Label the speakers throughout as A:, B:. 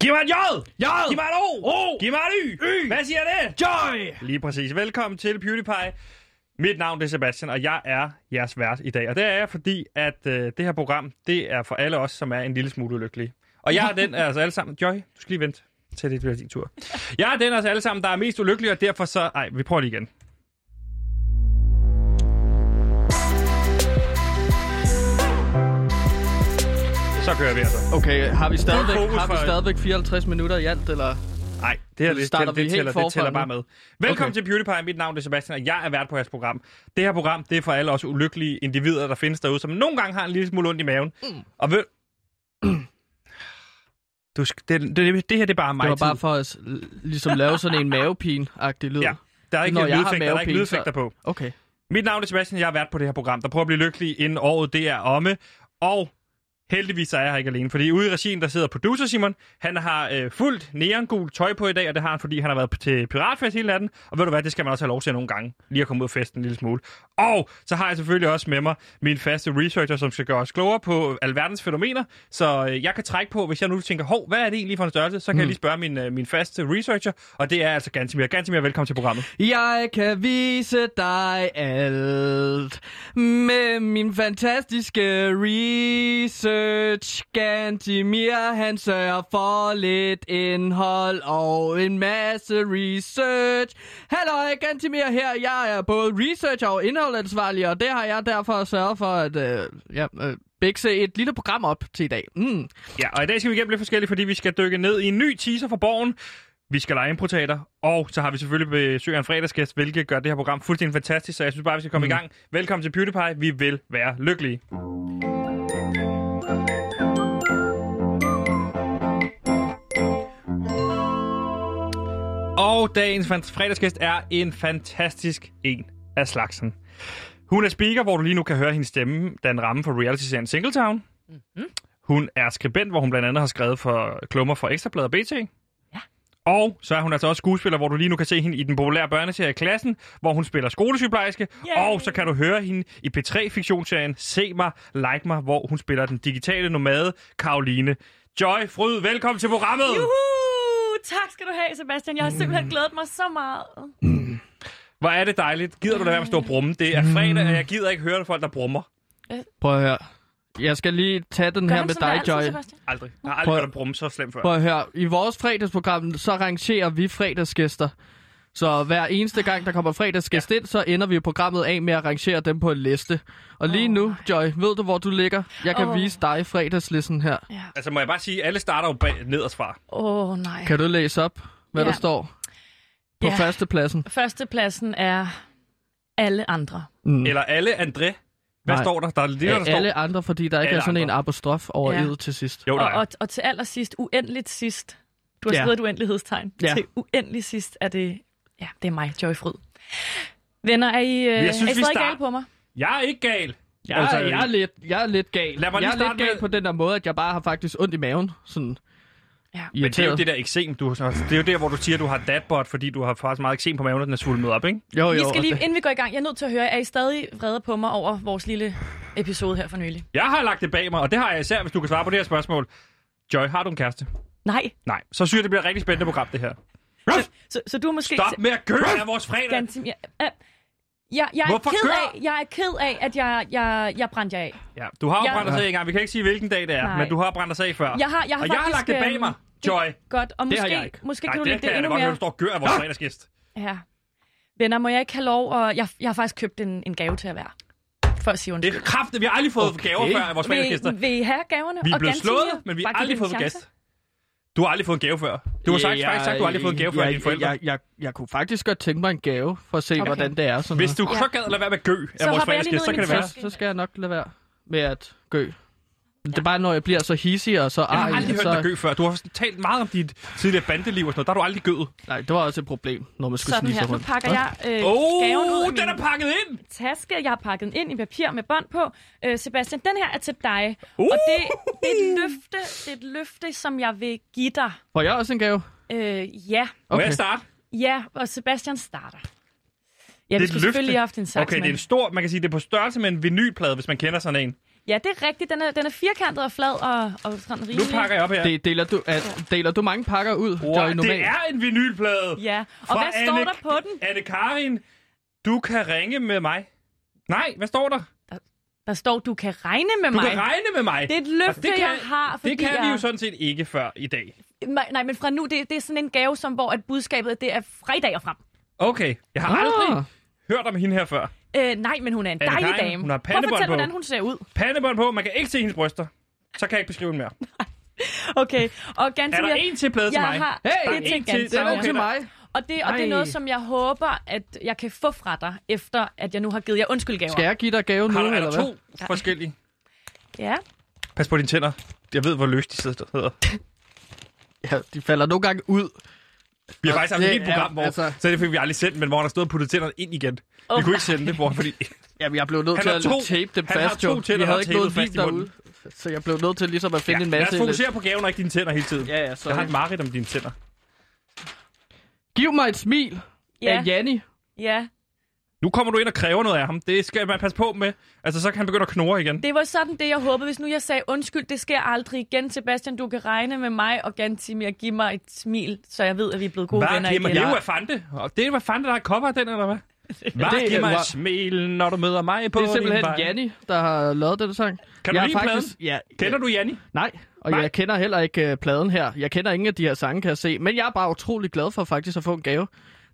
A: Giv mig et J!
B: J!
A: Giv mig et O!
B: O!
A: Giv mig et Y!
B: Y!
A: Hvad siger det?
B: Joy!
A: Lige præcis. Velkommen til PewDiePie. Mit navn det er Sebastian, og jeg er jeres vært i dag. Og det er jeg, fordi at øh, det her program, det er for alle os, som er en lille smule ulykkelige. Og jeg er den af os alle sammen... Joy, du skal lige vente til det bliver din tur. Jeg er den af os alle sammen, der er mest ulykkelig, og derfor så... Ej, vi prøver lige igen. Så kører vi altså.
C: Okay, har vi stadigvæk,
A: Fokus
C: har vi
A: for-
C: stadigvæk 54 minutter i alt, eller?
A: Nej, det her
C: Så
A: det,
C: starter
A: det,
C: vi
A: det,
C: helt
A: tæller,
C: forfra
A: det tæller
C: nu.
A: bare med. Velkommen
C: Okay.
A: okay. til PewDiePie. Mit navn er Sebastian, og jeg er vært på jeres program. Det her program, det er for alle os ulykkelige individer, der findes derude, som nogle gange har en lille smule ondt i maven. Mm. Og ved... Du, sk- det, det, det, det her, det er bare mig.
C: Det var bare for at s- ligesom lave sådan en mavepine-agtig lyd.
A: Ja. Der er ikke,
C: Når jeg har
A: lydfægter, der er ikke
C: mavepine,
A: lydfægter
C: så-
A: på.
C: Okay.
A: Mit navn er Sebastian, jeg er vært på det her program, der prøver at blive lykkelig inden året, det er omme. Og heldigvis så er jeg her ikke alene, fordi ude i regien, der sidder producer Simon, han har øh, fuldt neongul tøj på i dag, og det har han, fordi han har været til piratfest hele natten. Og ved du hvad, det skal man også have lov til nogle gange, lige at komme ud og feste en lille smule. Og så har jeg selvfølgelig også med mig min faste researcher, som skal gøre os klogere på alverdens fænomener. Så øh, jeg kan trække på, hvis jeg nu tænker, hov, hvad er det egentlig for en størrelse? Så kan mm. jeg lige spørge min, øh, min faste researcher, og det er altså Gantimir. Gantimir, velkommen til programmet.
C: Jeg kan vise dig alt med min fantastiske research. Gantimir, han sørger for lidt indhold og en masse research. Hallo, Gantimir her. Jeg er både researcher og indholdansvarlig, og det har jeg derfor sørget for at øh, ja, øh, bækse et lille program op til i dag. Mm.
A: Ja, og i dag skal vi igennem lidt forskelligt, fordi vi skal dykke ned i en ny teaser for Borgen. Vi skal lege improteater, og så har vi selvfølgelig besøg af en fredagsgæst, hvilket gør det her program fuldstændig fantastisk, så jeg synes bare, vi skal komme mm. i gang. Velkommen til PewDiePie. Vi vil være lykkelige. Og dagens fan- fredagsgæst er en fantastisk en af slagsen. Hun er speaker, hvor du lige nu kan høre hendes stemme, den ramme for reality-serien Singletown.
D: Mhm.
A: Hun er skribent, hvor hun blandt andet har skrevet for klummer for Ekstrabladet og BT.
D: Ja.
A: Og så er hun altså også skuespiller, hvor du lige nu kan se hende i den populære børneserie Klassen, hvor hun spiller skolesygeplejerske.
D: Yay!
A: Og så kan du høre hende i P3-fiktionsserien Se mig, like mig, hvor hun spiller den digitale nomade Karoline. Joy Fryd, velkommen til programmet!
D: Juhu! Tak skal du have, Sebastian. Jeg har
C: Mm.
D: simpelthen glædet mig så meget.
A: Hvor er det dejligt. Gider du da være med at stå og brumme? Det er fredag, og jeg gider ikke høre folk, der brummer.
C: Prøv at høre. Jeg skal lige tage den
D: Gør
C: her
D: du
C: med
D: sådan
C: dig,
D: altid,
C: Joy.
D: Sebastian?
A: Aldrig. Jeg har
C: Prøv-
A: aldrig hørt dig brumme så slemt før.
C: Prøv at høre, i vores fredagsprogram, så arrangerer vi fredagsgæster. Så hver eneste gang, der kommer fredagsgæst ja. ind, så ender vi programmet af med at arrangere dem på en liste. Og lige
D: Åh,
C: nu, Joy, ved du, hvor du ligger? Jeg kan
D: Åh.
C: vise dig fredagslisten her.
D: Ja.
A: Altså må jeg bare sige, alle starter jo bag, nederst fra.
D: Åh, oh, nej.
C: Kan du læse op, hvad
D: Ja.
C: der står på
D: Ja.
C: førstepladsen?
D: Førstepladsen er alle andre.
C: Mm.
A: Eller alle André. Hvad
C: Nej.
A: står der? Der er lige, der
C: Af
A: står
C: alle andre, fordi der ikke
A: Alle
C: er sådan
A: andre.
C: en apostrof over
D: Ja.
C: ja. til sidst.
A: Jo, der
D: Og,
A: er.
D: og, og til allersidst, uendeligt sidst. Du har
C: Ja.
D: skrevet et uendelighedstegn.
C: Ja.
D: Til uendelig sidst er det, ja, det er mig, Joy Fryd. Venner, er I, øh,
A: synes,
D: er I
A: vi
D: stadig
A: start-
D: gale på mig?
A: Jeg er ikke gal.
C: Jeg, altså, jeg, er lidt, jeg er lidt gal.
A: Lad mig lige
C: Jeg er lidt
A: starte med-
C: gal på den der måde, at jeg bare har faktisk ondt i maven. Sådan
D: Ja.
A: Men det er jo
C: irriteret.
A: det der eksem, du har. så- Det er jo der, hvor du siger, du har datbot, fordi du har faktisk meget eksem på maven, og den er svulmet op, ikke?
C: Jo, jo,
D: Vi skal
C: og
D: lige,
C: det-
D: inden vi går i gang, jeg er nødt til at høre, er I stadig vrede på mig over vores lille episode her for nylig?
A: Jeg har lagt det bag mig, og det har jeg især, hvis du kan svare på det her spørgsmål. Joy, har du en kæreste?
D: Nej.
A: Nej. Så synes jeg, det bliver et rigtig spændende program, det her.
D: Så, så du har måske...
A: Stop med at gøre det af vores fredag.
D: Gantim, jeg, øh, jeg, jeg, er
A: Hvorfor
D: ked
A: gør-
D: af, jeg er ked af, at jeg, jeg, jeg brændte jer af.
A: Ja, du har jo
D: Jeg-
A: brændt os af engang. Vi kan ikke sige, hvilken dag det er,
D: Nej.
A: men du har brændt os af før.
D: Jeg har, jeg har
A: og
D: faktisk,
A: jeg har lagt det bag
D: øhm,
A: mig, Joy.
D: Godt, og
C: Det har
D: måske,
C: jeg ikke.
D: måske
A: Nej,
D: kan du
A: det
D: lægge
A: kan jeg
D: det
A: da
D: endnu
A: godt høre, du
D: mere.
A: står og gør af vores fredagsgæst.
D: Ja. Venner, må jeg ikke have lov? Og jeg, jeg har faktisk købt en, en gave til at være. For at sige
A: Det
D: undskyld.
A: er kraftigt. Vi har aldrig fået
C: Okay.
A: gaver før af vores fredagsgæster.
D: Vil, vil I have gaverne?
A: Vi er
D: Og
A: blevet
D: Gantim,
A: slået,
D: ja.
A: men vi har
D: Bare giv
A: aldrig
D: det
A: fået en
D: chance.
A: gæst. Du har aldrig fået en gave før. Du har sagt, faktisk sagt, du har aldrig fået en gave før af dine forældre.
C: Jeg, jeg, jeg, jeg kunne faktisk godt tænke mig en gave, for at se,
D: Okay.
C: okay. hvordan det er. Sådan
A: Hvis du
D: Ja.
A: så gad at lade være med at gø af
D: hopper
A: vores
D: jeg lige
A: fredagsgæst,
D: ned
A: så
D: i
A: kan det
D: min
A: være.
C: noget. Så, så skal jeg nok lade være med at gø. Det er bare, når jeg bliver så hissig og så
A: Jeg har
C: arg.
A: aldrig hørt
C: så...
A: dig gø før. Du har sådan talt meget om dit tidligere bandeliv og sådan noget. Der har du aldrig gøet.
C: Nej, det var også et problem, når man skulle
D: Sådan
C: snige
D: her.
C: sig
D: Nu
C: rundt.
D: pakker jeg øh, gaven ud
A: Åh,
D: af
A: oh,
D: min
A: den er pakket ind!
D: taske. Jeg har pakket den ind i papir med bånd på. Øh, Sebastian, den her er til dig.
A: Uh!
D: Og det, det, er et løfte, det er et løfte, som jeg vil give dig.
C: Får jeg også en gave?
D: Øh, ja,
A: Må
C: Okay.
A: jeg starte?
D: ja, og Sebastian starter. Ja,
A: er
D: vi
A: et løfte.
D: skulle selvfølgelig have haft en saks
A: Okay, det er en stor, man kan sige, det er på størrelse med en vinylplade, hvis man kender sådan en.
D: Ja, det er rigtigt. Den er, den er firkantet og flad og, og sådan
A: Nu
D: rimelig.
A: pakker jeg op her. Det,
C: Det, deler, du, at, deler du mange pakker ud,
A: wow,
C: Joy,
A: det,
C: normalt?
A: er en vinylplade.
D: Ja, og
A: Fra
D: hvad står
A: Anne-
D: der på den?
A: Anne-Karin, du kan ringe med mig. Nej, hvad står der?
D: Der står, du kan regne med
A: Du
D: mig.
A: kan regne med mig. Altså,
D: Det er et løfte,
A: det kan-
D: jeg har. Fordi
A: det kan
D: jeg...
A: vi jo sådan set ikke før i dag.
D: Nej, nej, men fra nu, det, det er sådan en gave, som, hvor at budskabet det er fredag og frem.
A: Okay, jeg har aldrig
C: Ah,
A: hørt om hende her før.
D: Øh, nej, men hun er en
A: Anne
D: dejlig
A: Karin,
D: dame.
A: hun har
D: Prøv at
A: pandebånd
D: fortælle,
A: på.
D: hvordan hun ser ud.
A: Pandebånd på, man kan ikke se hendes bryster. Så kan jeg ikke beskrive hende mere.
D: Okay, og
A: Er
D: ganske
A: der en til plade til
D: jeg
A: mig?
D: har
C: Hey,
A: Der er
D: det til
A: en til-
D: Gantemir.
C: den er til mig.
D: Og det, og det er
C: Ej.
D: noget, som jeg håber, at jeg kan få fra dig, efter at jeg nu har givet jer undskyldgaver.
C: Skal jeg give dig gaven nu,
A: Har der, er
C: eller
A: der
C: hvad?
A: to forskellige?
D: Ja.
A: Pas på dine tænder. Jeg ved, hvor løst de sidder.
C: Ja, de falder nogle gange ud.
A: Vi har faktisk haft et
C: det
A: helt program,
C: er-
A: hvor,
C: altså-
A: så det fik vi aldrig sendt, men hvor han har stået og puttet tænderne ind igen. vi
D: Oh
A: kunne ikke sende det, bror, fordi
C: Jamen, jeg blev nødt
A: Han
C: til
A: har
C: at
A: to-
C: tape dem
A: han har
C: fast,
A: to
C: jo.
A: tænder,
C: Vi
A: der er
C: havde ikke noget
A: tapet fast
C: lim
A: i munden.
C: derude. Så jeg blev nødt til ligesom at finde en
A: ja,
C: masse...
A: lad os fokusere på gaven og ikke dine tænder hele tiden.
C: Ja, ja, så...
A: Jeg har et mareridt om dine tænder.
C: Giv mig et smil
D: ja,
C: af Janni.
D: ja.
A: Nu kommer du ind og kræver noget af ham. Det skal man passe på med. Altså, så kan han begynde at knurre igen.
D: Det var sådan det, jeg håbede. Hvis nu jeg sagde, undskyld, det sker aldrig igen, Sebastian, du kan regne med mig, og Gantimir, giv mig et smil, så jeg ved, at vi er blevet gode venner
A: giver
D: igen.
A: mig? Det er jo af Fante. Og det er jo af Fante, der er kopper af den, eller hvad?
C: det
A: Bare
C: er-
A: giv mig
C: hvor-
A: et smil, når du møder mig på
C: Det er simpelthen
A: din vej.
C: Janni, der har lavet den sang.
A: Kan du
C: jeg er
A: lide
C: faktisk... Ja,
A: Kender du Janni?
C: Nej,
A: Nej.
C: og Nej. jeg kender heller ikke øh, pladen her. Jeg kender ingen af de her sange, kan jeg se. Men jeg er bare utrolig glad for faktisk at få en gave.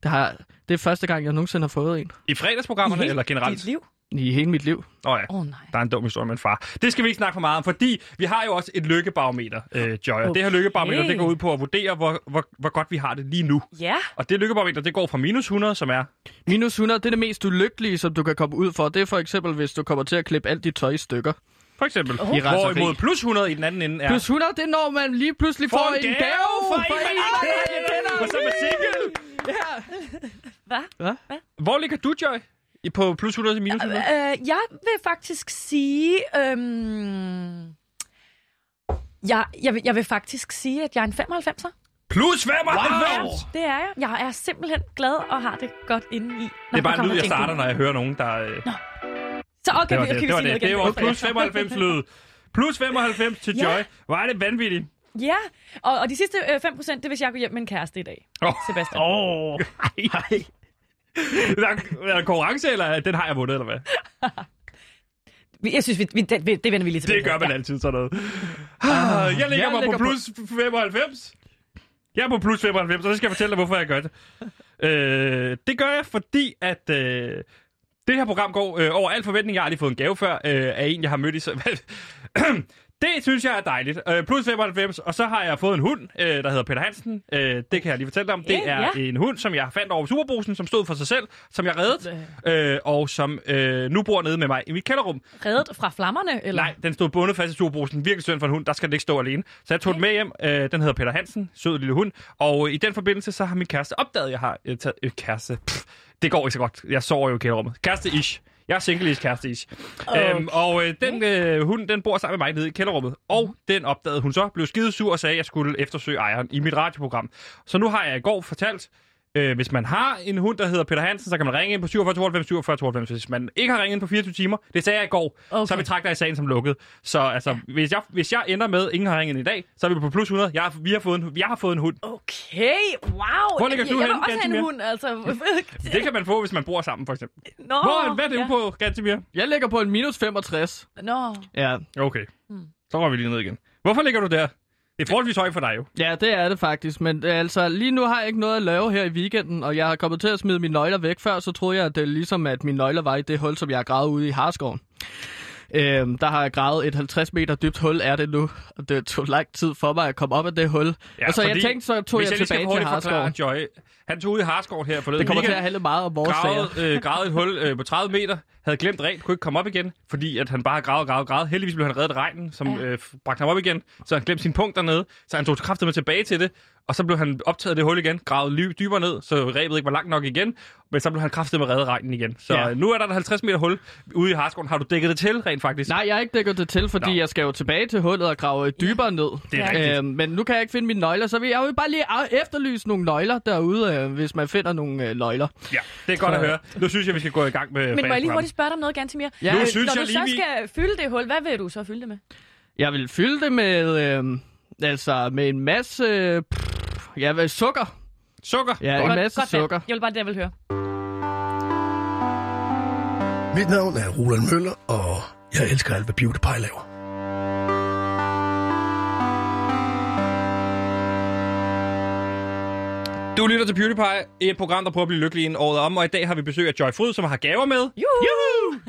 C: Det, har, det er første gang, jeg nogensinde har fået en
A: I fredagsprogrammerne, eller generelt?
D: Dit liv?
C: i hele mit liv.
A: Åh oh, ja.
D: Åh oh, nej.
A: Der er en dum historie med en far. Det skal vi ikke snakke for meget om, fordi vi har jo også et lykkebarometer, øh, Joy. Okay. Det her lykkebarometer, det går ud på at vurdere, hvor, hvor, hvor godt vi har det lige nu.
D: Ja,
A: Og det lykkebarometer, det går fra minus 100, som er...
C: Minus 100, det er det mest ulykkelige, som du kan komme ud for. Det er for eksempel, hvis du kommer til at klippe alt dit tøj i stykker.
A: For eksempel,
C: I raseri.
A: hvorimod plus 100 i den anden ende er...
C: Plus 100, det er, når man lige pludselig får,
A: Få
C: en gave,
A: fra en, man ikke kender! Og så er man single!
D: hvad?
A: Hvor ligger du, Joy? I- På plus 100 til minus 100?
D: Øh, jeg vil faktisk sige... Øhm, jeg, jeg, vil, jeg vil faktisk sige, at jeg er en 95'er.
A: Plus 95! Wow.
D: Det er jeg. Jeg er simpelthen glad og har det godt inde i.
A: Det er bare en lyd, jeg starter, når jeg hører nogen, der... Øh,
D: Så okay,
A: det var
D: vi,
A: det. Det
D: okay, vi
A: var
D: sige
A: det.
D: noget
A: Det
D: igen.
A: var plus 95 lyd. Plus 95 til
D: Ja.
A: Joy. Hvor er det vanvittigt.
D: Ja, og, og de sidste øh, 5 procent, det er, hvis jeg går hjem med en kæreste i dag,
A: Åh.
D: Sebastian.
A: Åh, oh, nej. Er der- er der konkurrence, eller den har jeg vundet, eller hvad?
D: Vi- Jeg synes, vi, vi, det, vi- det vender vi lige tilbage.
A: Det gør man
D: ja.
A: altid sådan noget. Ah, Jeg ligger mig
C: jeg
A: på
C: ligger på-
A: plus 95. Jeg er på plus 95, og så skal jeg fortælle dig, hvorfor jeg gør det. Øh, det gør jeg, fordi at... Øh, det her program går øh, over al forventning. Jeg har aldrig fået en gave før øh, af en, jeg har mødt i... så- det synes jeg er dejligt. Øh, plus 95, og så har jeg fået en hund, øh, der hedder Peter Hansen. Øh, det kan jeg lige fortælle dig om. Det
D: Ja,
A: er en hund, som jeg fandt over på Superbrusen, som stod for sig selv, som jeg reddede, øh, og som øh, nu bor nede med mig i mit kælderrum.
D: Reddet fra flammerne, eller?
A: Nej, den stod bundet fast i turbosen. Virkelig synd for en hund. Der skal den ikke stå alene. Så jeg tog den med hjem. Øh, den hedder Peter Hansen. Sød lille hund. Og øh, i den forbindelse, så har min kæreste opdaget, at jeg har øh, taget... Øh, kæreste. Pff, det går ikke så godt. Jeg sover jo i kælderummet. Kæreste-ish. Jeg er single-ish, kæreste-ish. Okay. Øhm, og øh, den øh, hund, den bor sammen med mig nede i kælderummet. Og den opdagede hun så. Blev skidesur og sagde, at jeg skulle eftersøge ejeren i mit radioprogram. Så nu har jeg i går fortalt, Øh, hvis man har en hund, der hedder Peter Hansen, så kan man ringe ind på 47 92 47 92. Hvis man ikke har ringet ind på 24 timer, det sagde jeg i går, okay. så
D: Okay.
A: betragter jeg sagen som lukket. Så altså, ja. hvis, jeg, hvis jeg ender med, at ingen har ringet ind i dag, så er vi på plus 100. Jeg, har- vi har fået en, jeg har fået en hund.
D: Okay, wow.
A: Hvor ligger
D: jeg,
A: du
D: jeg,
A: henne,
D: jeg vil også have
A: Gantemir?
D: en hund, altså.
A: Det kan man få, hvis man bor sammen, for eksempel.
D: Nå,
A: Hvor, hvad er det ja.
D: ja.
A: på, Gantemir?
C: Jeg ligger på en minus 65.
D: Nå,
C: Ja,
A: Okay, så går vi lige ned igen. Hvorfor ligger du der? Det er forholdsvis højt for dig jo.
C: Ja, det er det faktisk, men øh, altså lige nu har jeg ikke noget at lave her i weekenden, og jeg har kommet til at smide mine nøgler væk før, så troede jeg, at det er ligesom, at mine nøgler var i det hul, som jeg har gravet ude i Harskoven. Øhm, der har jeg gravet et 50 meter dybt hul, er det nu, og det tog lang tid for mig at komme op af det hul. Ja, og så Altså, jeg tænkte, så tog
A: hvis
C: jeg,
A: jeg lige skal
C: tilbage til
A: hurtigt
C: Harskoven.
A: forklare, Joy, han tog ud i Harskov her forleden.
C: Det kommer til
A: weekend.
C: at handle meget om vores sager.
A: gravet, øh, gravet et hul øh, på 30 meter, havde glemt rent, kunne ikke komme op igen, fordi at han bare har gravet, gravet, gravet. Heldigvis blev han reddet af regnen, som
D: Ja.
A: øh, bragte ham op igen, så han glemte sin punkt dernede, så han tog kraftet med tilbage til det, og så blev han optaget af det hul igen, gravet ly- dybere ned, så rebet ikke var langt nok igen, men så blev han kraftet med redde regnen igen. Så
C: Ja.
A: ja. nu er der et 50 meter hul ude i Harskoven. Har du dækket det til rent faktisk?
C: Nej, jeg har ikke dækket det til, fordi
A: Nå.
C: jeg skal jo tilbage til hullet og grave dybere ned.
A: Det er
D: Ja.
A: rigtigt.
C: Øhm, men nu kan jeg ikke finde mine nøgler, så vil jeg jo bare lige af- efterlyse nogle nøgler derude, øh, hvis man finder nogle øh, nøgler.
A: Ja, det er godt at høre. Nu synes jeg, vi skal gå i gang med
D: Men må jeg lige
A: fredagsprogrammet.
D: hurtigt spørge dig om noget, Gantemir?
C: Ja,
A: Nu
C: øh,
A: synes
D: Når
A: jeg
D: du så
A: lige, vi...
D: skal fylde det hul, hvad vil du så fylde det med?
C: Jeg vil fylde det med, øh, altså med en masse, øh, pff, ja, hvad, sukker.
A: Sukker.
C: Ja,
A: Godt.
C: en masse
D: Godt valg.
C: sukker.
D: Jeg vil bare det, jeg vil høre.
B: Mit navn er Roland Møller, og jeg elsker alt, hvad Beauty Pie laver.
A: Du lytter til PewDiePie, et program, der prøver at blive lykkelig en året om, og i dag har vi besøg af Joy Fryd, som har gaver med.
D: Juhu!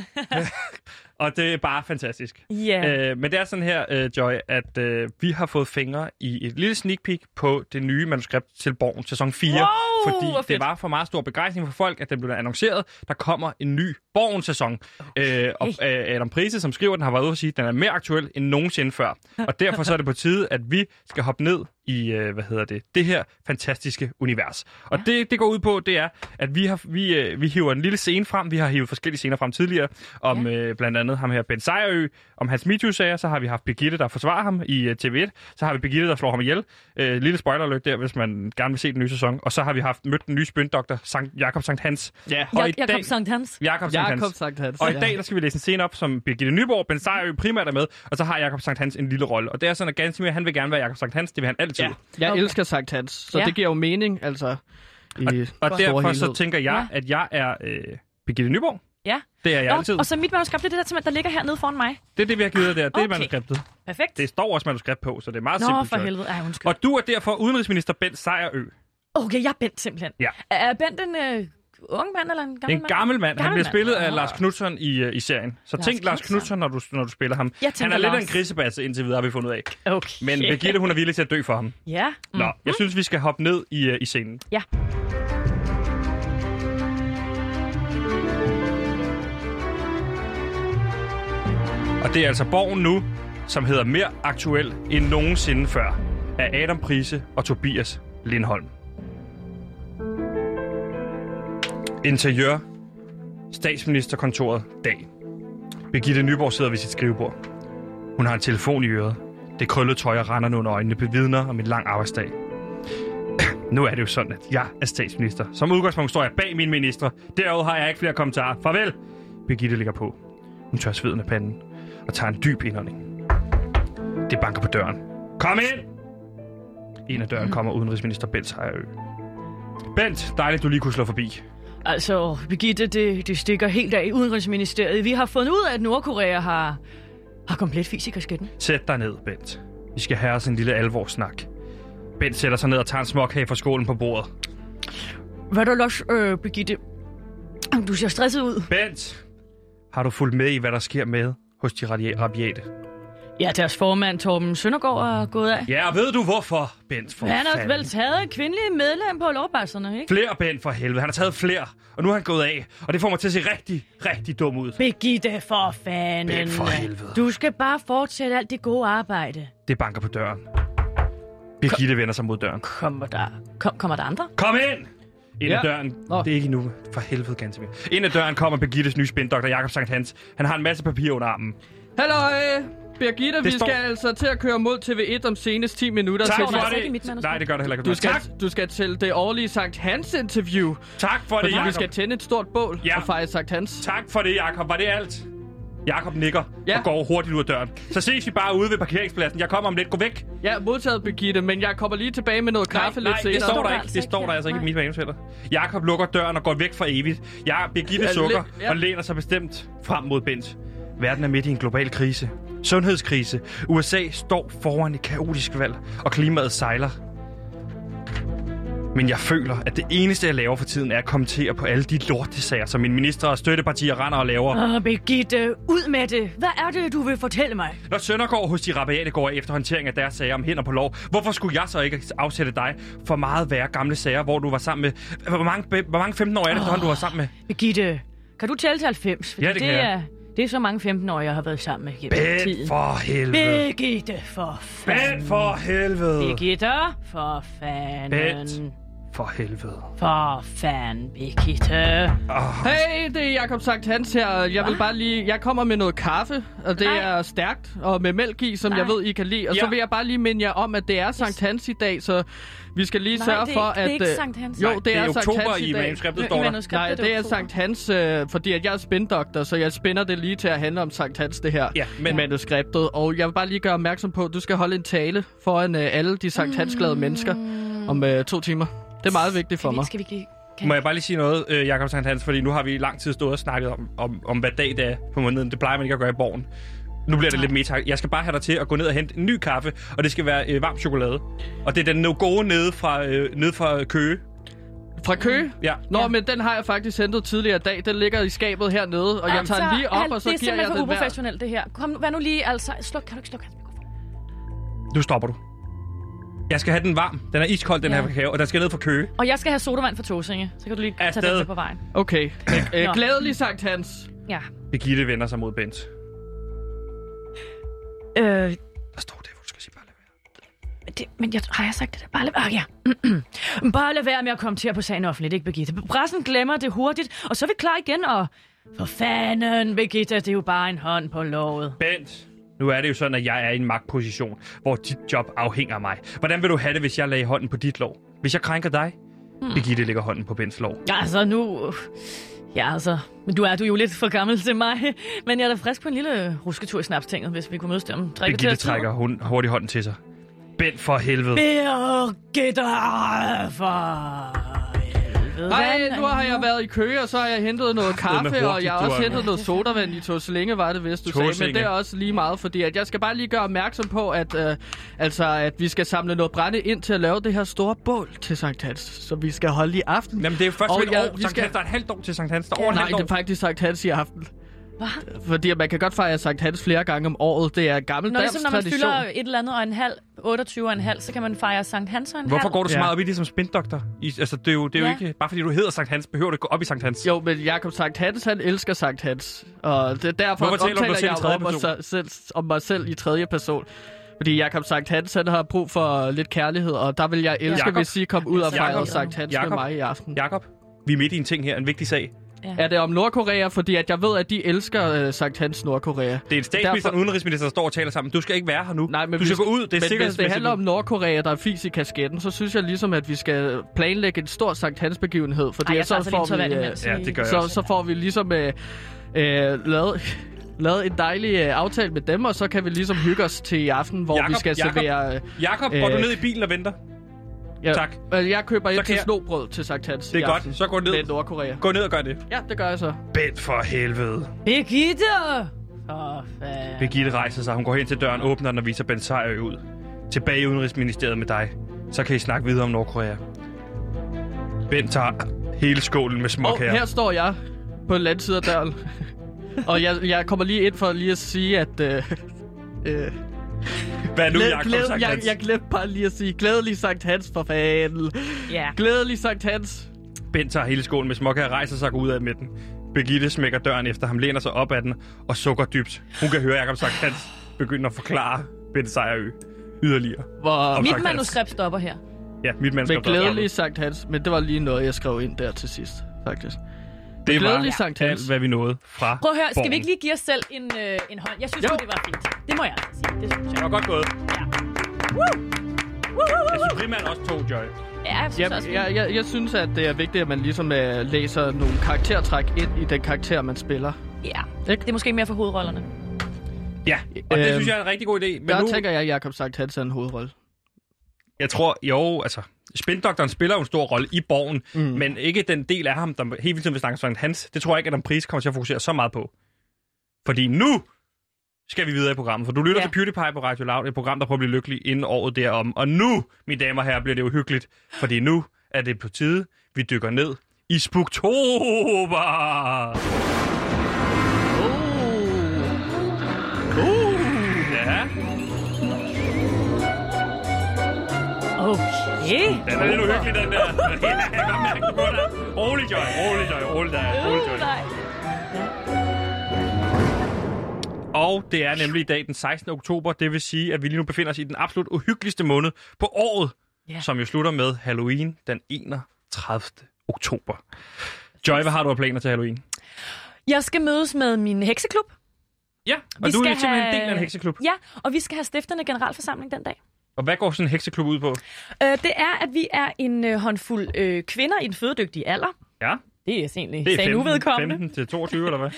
A: Og det er bare fantastisk.
D: Ja.
A: Øh, men det er sådan her, øh, Joy, at øh, vi har fået fingre i et lille sneak peek på det nye manuskript til Borgen sæson 4.
D: Wow,
A: fordi
D: hvor
A: det
D: fedt.
A: var for meget stor begejstring for folk, at den blev annonceret. Der kommer en ny Borgen-sæson. Okay. Øh, og øh, Adam Prise, som skriver den, har været ude og sige, at den er mere aktuel end nogensinde før. Og derfor så er det på tide, at vi skal hoppe ned i, øh, hvad hedder det, det her fantastiske univers. Og ja. det, det går ud på, det er, at vi, har, vi, øh, vi hiver en lille scene frem. Vi har hivet forskellige scener frem tidligere, om ja. øh, blandt andet ham her, Ben Sejerø, om hans MeToo-sager. Så har vi haft Birgitte, der forsvarer ham i øh, TV1. Så har vi Birgitte, der slår ham ihjel. Øh, lille spoiler alert der, hvis man gerne vil se den nye sæson. Og så har vi haft mødt den nye spøndoktor, Sankt, Jakob Sankt Hans.
C: Ja,
A: Og i
D: Jeg, jeg
A: dag-
D: kom Sankt Hans.
A: Jakob Sankt Hans.
C: Jakob Sankt Hans.
A: Og i
C: ja.
A: dag der skal vi læse en scene op, som Birgitte Nyborg, Ben Sejerø primært er med, og så har Jakob Sankt Hans en lille rolle. Og det er sådan, at Gansimir, han vil gerne være Jakob Sankt Hans, det vil han altid.
C: Ja, jeg
D: Okay.
C: elsker Sankt Hans, så
D: Ja.
C: det giver jo mening, altså. I
A: Og
C: store
A: derfor så
C: helhed.
A: tænker jeg,
D: Ja.
A: at jeg er øh, Birgitte Nyborg.
D: Ja.
A: Det er jeg altid.
D: Nå, og så mit manuskript, det er det der, simpelthen, der ligger hernede foran mig.
A: Det er det, vi har givet der. Det er
D: Okay.
A: manuskriptet.
D: Perfekt.
A: Det står også manuskript på, så det er meget
D: Nå,
A: simpelt.
D: for
A: Joy.
D: helvede. Ej, undskyld.
A: Og du er derfor udenrigsminister Ben Sejerø.
D: Okay, jeg er Bent simpelthen.
A: Ja.
D: Er- Er Bent en øh, ung mand eller en gammel
A: En
D: mand?
A: gammel mand. Han bliver
D: Gammel mand.
A: spillet af
D: Nå.
A: Lars Knudsen i, øh, i serien. Så
D: Lars
A: tænk Lars
D: Knutzon.
A: Knudsen, når du, når du spiller ham.
D: Jeg
A: Han
D: tænker
A: er lidt af en
D: Lars.
A: grisebasse indtil videre, har vi fundet ud af.
D: Okay.
A: Men Birgitte, hun er villig til at dø for ham.
D: Ja.
A: Nå, jeg synes, vi skal hoppe ned i, øh, i scenen.
D: Ja.
A: Og det er altså Borgen nu, som hedder mere aktuel end nogensinde før, af Adam Prise og Tobias Lindholm. Interiør. Statsministerkontoret. Dag. Birgitte Nyborg sidder ved sit skrivebord. Hun har en telefon i øret. Det krøllede tøj og renderne under øjnene bevidner om en lang arbejdsdag. Nu er det jo sådan, at jeg er statsminister. Som udgangspunkt står jeg bag mine ministre. Derudover har jeg ikke flere kommentarer. Farvel! Birgitte ligger på. Hun tør sveden af panden og tager en dyb indånding. Det banker på døren. Kom ind! En af døren kommer udenrigsminister Bent Sejerø. Bent, dejligt, du lige kunne slå forbi.
D: Altså, Birgitte, det, det stikker helt af i Udenrigsministeriet. Vi har fundet ud af, at Nordkorea har, har komplet fysikersketten.
A: Sæt dig ned, Bent. Vi skal have os en lille alvorsnak. Bent sætter sig ned og tager en småkage fra skålen på bordet.
D: Hvad er der los, øh, Birgitte? Du ser stresset ud.
A: Bent! Har du fulgt med i, hvad der sker med hos de radia- rabiate?
D: Ja, deres formand Torben Søndergaard er gået af.
A: Ja, og ved du hvorfor, Bent? For
D: Men han har
A: fanden.
D: vel taget et kvindeligt medlem på lovbasserne, ikke?
A: Flere, Bent, for helvede. Han har taget flere, og nu er han gået af. Og det får mig til at se rigtig, rigtig dum ud.
D: Birgitte, for fanden.
A: Bent, for helvede.
D: Du skal bare fortsætte alt det gode arbejde.
A: Det banker på døren. Birgitte vender sig mod døren.
D: Kommer der, kom, kommer der andre?
A: Kom ind! Ind
C: Ja.
A: ad døren.
C: Nå.
A: Det er ikke endnu. For helvede, ganske mere. Ind ad døren kommer Birgittes nye spindoktor, Jakob Sankt Hans. Han har en masse papir under armen.
C: Halløj! Birgitte, vi
A: står-
C: skal altså til at køre mod TV1 om senest 10 minutter.
A: Tak
C: så
D: står der
A: for
D: altså ikke i mit
A: det.
D: manuskript.
A: Nej, det gør det heller ikke.
C: du, skal,
A: Tak,
C: du skal til det årlige Sankt Hans interview,
A: tak for det,
C: fordi vi skal
A: Jakob.
C: tænde et stort bål
A: Ja.
C: og fejre Sankt Hans.
A: Tak for det, Jakob. Var det alt? Jakob nikker
C: Ja.
A: og går hurtigt ud af døren. Så ses vi bare ude ved parkeringspladsen. Jeg kommer om lidt. Gå væk.
C: Ja, modtaget Birgitte, men jeg kommer lige tilbage med noget kaffe
A: nej,
C: lidt senere.
A: det står der ikke.
D: altså
A: Det
D: ikke
A: står der
D: her.
A: altså ikke i
D: Nej.
A: mit manus heller. Jakob lukker døren og går væk for evigt. Jeg Birgitte
C: Ja,
A: sukker
C: lidt- ja.
A: og læner sig bestemt frem mod Bent. Verden er midt i en global krise. Sundhedskrise. USA står foran et kaotisk valg, og klimaet sejler. Men jeg føler, at det eneste, jeg laver for tiden, er at kommentere på alle de lortesager, som mine ministre og støttepartier render og laver.
D: Åh, Birgitte, ud med det. Hvad er det, du vil fortælle mig?
A: Når Søndergaard hos de rabiate går efter håndtering af deres sager om hænder på lov, hvorfor skulle jeg så ikke afsætte dig for meget værre gamle sager, hvor du var sammen med... Hvor mange, hvor mange 15 år er det, oh. du var sammen med?
D: Birgitte, kan du tælle til 90? Fordi
A: Ja, det kan
D: det
A: jeg.
D: er, Det er så mange 15-årige, jeg har været sammen med gennem
A: Bent
D: tiden.
A: for helvede.
D: Birgitte, for fanden.
A: Bent for helvede.
D: Birgitte, for fanden.
A: Bent. For helvede.
D: For fanden, Birgitte.
C: Hey, det er Jakob Sankt Hans her. Jeg vil bare lige... Jeg kommer med noget kaffe, og det
D: Nej.
C: Ej. er stærkt, og med mælk i, som Ej. jeg
D: Nej.
C: ved, I kan lide. Og ja. så
A: Ja.
C: vil jeg bare lige minde jer om, at det er Sankt Hans i dag, så vi skal lige
D: Nej,
C: sørge
D: det er
C: for,
D: ikke- det
C: at...
D: er ikke
C: øh,
D: Sankt Hans.
C: Jo,
D: Nej,
C: det,
A: Det er
C: er Sankt
A: oktober
C: Hans i
A: i
C: dag.
A: manuskriptet,
D: I
A: står der.
D: manuskriptet,
C: Nej, det er
D: oktober.
C: Sankt Hans, øh, fordi at jeg er spindoktor, så jeg spinder det lige til at handle om Sankt Hans, det her
A: Ja, men-
C: manuskriptet. Og jeg vil bare lige gøre opmærksom på, at du skal holde en tale foran øh, alle de Sankt Hans-glade mennesker om øh, to timer. Det er meget vigtigt for
D: Mm. Skal vi,
C: mig.
D: skal vi ikke lige...
A: Må jeg bare lige sige noget, øh, Jakob Sankt Hans, fordi nu har vi i lang tid stået og snakket om, om, om hvad dag det er på måneden. Det plejer man ikke at gøre i borgen. Nu bliver det lidt meta. Jeg skal bare have dig til at gå ned og hente en ny kaffe, og det skal være øh, varm chokolade. Og det er den no gode nede fra, øh, nede fra Køge.
C: Fra Køge?
A: Ja.
C: Nå, men den har jeg faktisk hentet tidligere i dag. Den ligger i skabet hernede, og jeg tager den lige op,
D: Al-
C: og så
D: Det er
C: giver jeg
D: simpelthen for
C: den hver.
D: uprofessionelt, det her. Kom, nu- vær nu lige, altså. Sluk, kan du ikke slukke hans mikrofon?
A: Nu stopper du. Jeg skal have den varm. Den er iskold, den
D: Ja.
A: her kakao, og den skal ned fra Køge.
D: Og jeg skal have sodavand for Tåsinge. Så kan du lige Afsted.
A: Afsted.
D: tage den med på vejen.
C: Okay. Øh,
D: Nå.
C: glædelig Sankt Hans.
D: Ja.
A: Birgitte vender sig mod Bent.
D: Øh,
A: Der står det, hvor du skal sige bare lad være.
D: det, men jeg, har jeg sagt det der? Bare lad, ah, ja. Bare lad være med at kommentere på sagen offentligt, ikke Birgitte? Pressen glemmer det hurtigt, og så er vi klar igen, og... For fanden, Birgitte, det er jo bare en hånd på låget.
A: Bent, nu er det jo sådan, at jeg er i en magtposition, hvor dit job afhænger af mig. Hvordan vil du have det, hvis jeg lagde hånden på dit lov? Hvis jeg krænker dig? Hmm. Birgitte lægger hånden på Bents lov.
D: Altså, nu... Ja, altså... Men du er, du er jo lidt for gammel til mig. Men jeg er da frisk på en lille rusketur i snapstinget, hvis vi kunne mødes der om tre
A: Birgitte trækker hun, hurtigt hånden til sig. Bent for helvede.
D: Birgitte for helvede.
C: Ej, nu har jeg været i Køge, og så har jeg hentet noget
A: med
C: kaffe, og
A: hurtigt,
C: jeg har
A: du
C: også
A: er.
C: hentet noget sodavand i Tåslinge, var det vist, du sagde. Men
A: Tåsinge.
C: det er også lige meget, fordi at jeg skal bare lige gøre opmærksom på, at, øh, altså, at vi skal samle noget brænde ind til at lave det her store bål til Sankt Hans, som vi skal holde i aften.
A: Jamen, det er først
C: Og
A: ved et
C: jeg-
A: år.
C: vi
A: Sankt
C: skal-
A: Hans, der er et halvt år til Sankt Hans. Der er over et
C: Nej,
A: halvt
C: det er
A: år.
C: faktisk Sankt Hans i aften. Fordi man kan godt fejre Sankt Hans flere gange om året. Det er en gammel
D: Når,
C: dansk
D: ligesom, når man
C: tradition.
D: fylder et eller andet og en halv, 28 og en halv, så kan man fejre Sankt Hans og en
A: Hvorfor
D: halv.
A: går du så
C: Ja.
A: meget op i det som spindoktor? I, altså, det er jo, det er jo
D: Ja.
A: ikke... Bare fordi du hedder Sankt Hans, behøver du ikke gå op i Sankt Hans.
C: Jo, men Jakob Sankt Hans, han elsker Sankt Hans. Og det er derfor
A: Hvorfor taler du om dig selv i
C: jeg
A: tredje
C: om mig,
A: person?
C: selv, om mig selv i tredje person. Fordi Jakob Sankt Hans, han har brug for lidt kærlighed, og der vil jeg elske,
A: Jakob.
C: hvis I kom ud og
D: Jakob.
C: fejrede Sankt Hans med
A: Jakob.
C: mig i aften.
A: Jakob, vi er midt i en ting her, en vigtig sag.
C: Er det om Nordkorea? Fordi at jeg ved, at de elsker uh, Sankt Hans Nordkorea.
A: Det er en statsminister og
C: Derfor-
A: en udenrigsminister, der står og taler sammen. Du skal ikke være her nu.
C: Nej, men
A: du skal
C: hvis,
A: gå ud. Det er
C: men hvis det
A: sikkerhedsmæssigt.
C: handler om Nordkorea, der er fis i kasketten, så synes jeg ligesom, at vi skal planlægge en stor Sankt Hans begivenhed. Fordi
D: Ej, jeg
C: at
D: tager altså
C: så får
D: lidt
C: vi...
D: tørvand
C: øh,
D: imens.
A: ja, det gør jeg
C: så,
A: også.
C: så får vi ligesom øh, øh, lavet, lavet en dejlig øh, aftale med dem, og så kan vi ligesom hygge os til i aften, hvor
A: Jakob,
C: vi skal
A: Jakob.
C: servere... Øh,
A: Jakob, går du
C: Øh,
A: ned i bilen og venter?
C: ja,
A: Tak.
C: Øh, jeg køber ind
A: kan
C: til
A: jeg-
C: snobrød til Sankt Hans
A: Det er
C: i
A: godt.
C: aften
A: Så gå ned.
C: Med Nordkorea.
A: Gå ned og gør det.
C: Ja, det gør jeg så.
A: Bent for helvede.
D: Birgitte! For fanden.
A: Birgitte rejser sig. Hun går hen til døren, åbner den og viser Bent Sejr ud. Tilbage i Udenrigsministeriet med dig. Så kan I snakke videre om Nordkorea. Bent tager hele skålen med
C: Og
A: småkager.
C: her står jeg på den anden side af døren. og jeg, jeg kommer lige ind for lige at sige, at... Øh, øh,
A: Hvad er nu,
C: glæd,
A: Jakob
C: glæd,
A: Sankt
C: jeg,
A: Hans?
C: jeg glemte bare lige at sige Glædelig Sankt Hans for fanden
D: Ja.
C: Glædelig Sankt Hans
A: Bent tager hele skålen med småkager, rejser sig og går ud af midten. Birgitte smækker døren efter ham, læner sig op ad den og sukker dybt. Hun kan høre Jakob Sankt Hans begynde at forklare Bent Sejrø yderligere.
C: Hvor
A: Om
D: Mit
A: Sankt Hans.
D: manuskript stopper her.
A: Ja, mit
C: Med
A: mandskab. der er
C: glædelig Sankt Hans, men det var lige noget, jeg skrev ind der til sidst, faktisk.
A: oppe. Det var
C: Glædelig Sankt
A: alt,
C: Hans.
A: hvad vi nåede fra
D: Prøv at høre, skal
A: Borgen.
D: vi ikke lige give os selv en, øh, en hånd? Jeg synes
C: Jo.
D: jo. det var fint. Det må jeg altså sige. Det synes
A: Det
D: jeg.
A: var godt gået.
D: Ja. Woo! Woo, woo,
A: Jeg
D: woo,
A: synes primært også to, Joy.
D: woo. Ja, jeg synes
C: Jeg,
D: også, vi-
C: jeg, jeg, jeg synes, at det er vigtigt, at man ligesom øh, læser nogle karaktertræk ind i den karakter, man spiller.
D: Ja.
C: Ikke?
D: Det er måske mere for hovedrollerne.
A: Ja, og det
C: Øhm,
A: synes jeg er en rigtig god idé. Men
C: Der
A: nu,
C: nu... tænker jeg, at Jacob Sankt Hans er en hovedrolle.
A: jeg tror, jo, altså... Spindoktoren spiller jo en stor rolle i borgen, mm. men ikke den del af ham, der helt vildt vil snakke om Sankt Hans. Det tror jeg ikke, at Adam Pris kommer til at fokusere så meget på. Fordi nu skal vi videre i programmet, for du lytter ja.
D: Ja.
A: til PewDiePie på Radio Loud, et program, der prøver at blive lykkelig inden året derom. Og nu, mine damer og herrer, bliver det uhyggeligt, fordi nu er det på tide, vi dykker ned i Spuktober!
C: Oh.
A: Oh. Ja,
D: Okay.
A: Den er lidt uhyggelig, den der. Ja, jeg kan godt mærke det på dig. Rolig, Joy. Rolig, Joy. Rolig, dig. Rolig, Joy.
D: Uh, nej.
A: Og det er nemlig i dag den 16. oktober, det vil sige, at vi lige nu befinder os i den absolut uhyggeligste måned på året,
D: Ja.
A: yeah. som jo slutter med Halloween den 31. oktober. Joy, hvad har du af planer til Halloween?
D: Jeg skal mødes med min hekseklub.
A: Ja, og
D: Vi
A: du er
D: skal
A: simpelthen en del af
D: have-
A: en hekseklub.
D: Ja, og vi skal have stifterne generalforsamling den dag.
A: Og hvad går sådan en hekseklub ud på?
D: Øh, det er, at vi er en øh, håndfuld øh, kvinder i den fødedygtige alder.
A: Ja,
D: Det er egentlig
A: det er
D: sagen
A: 15,
D: uvedkommende.
A: 15 til 22, eller hvad?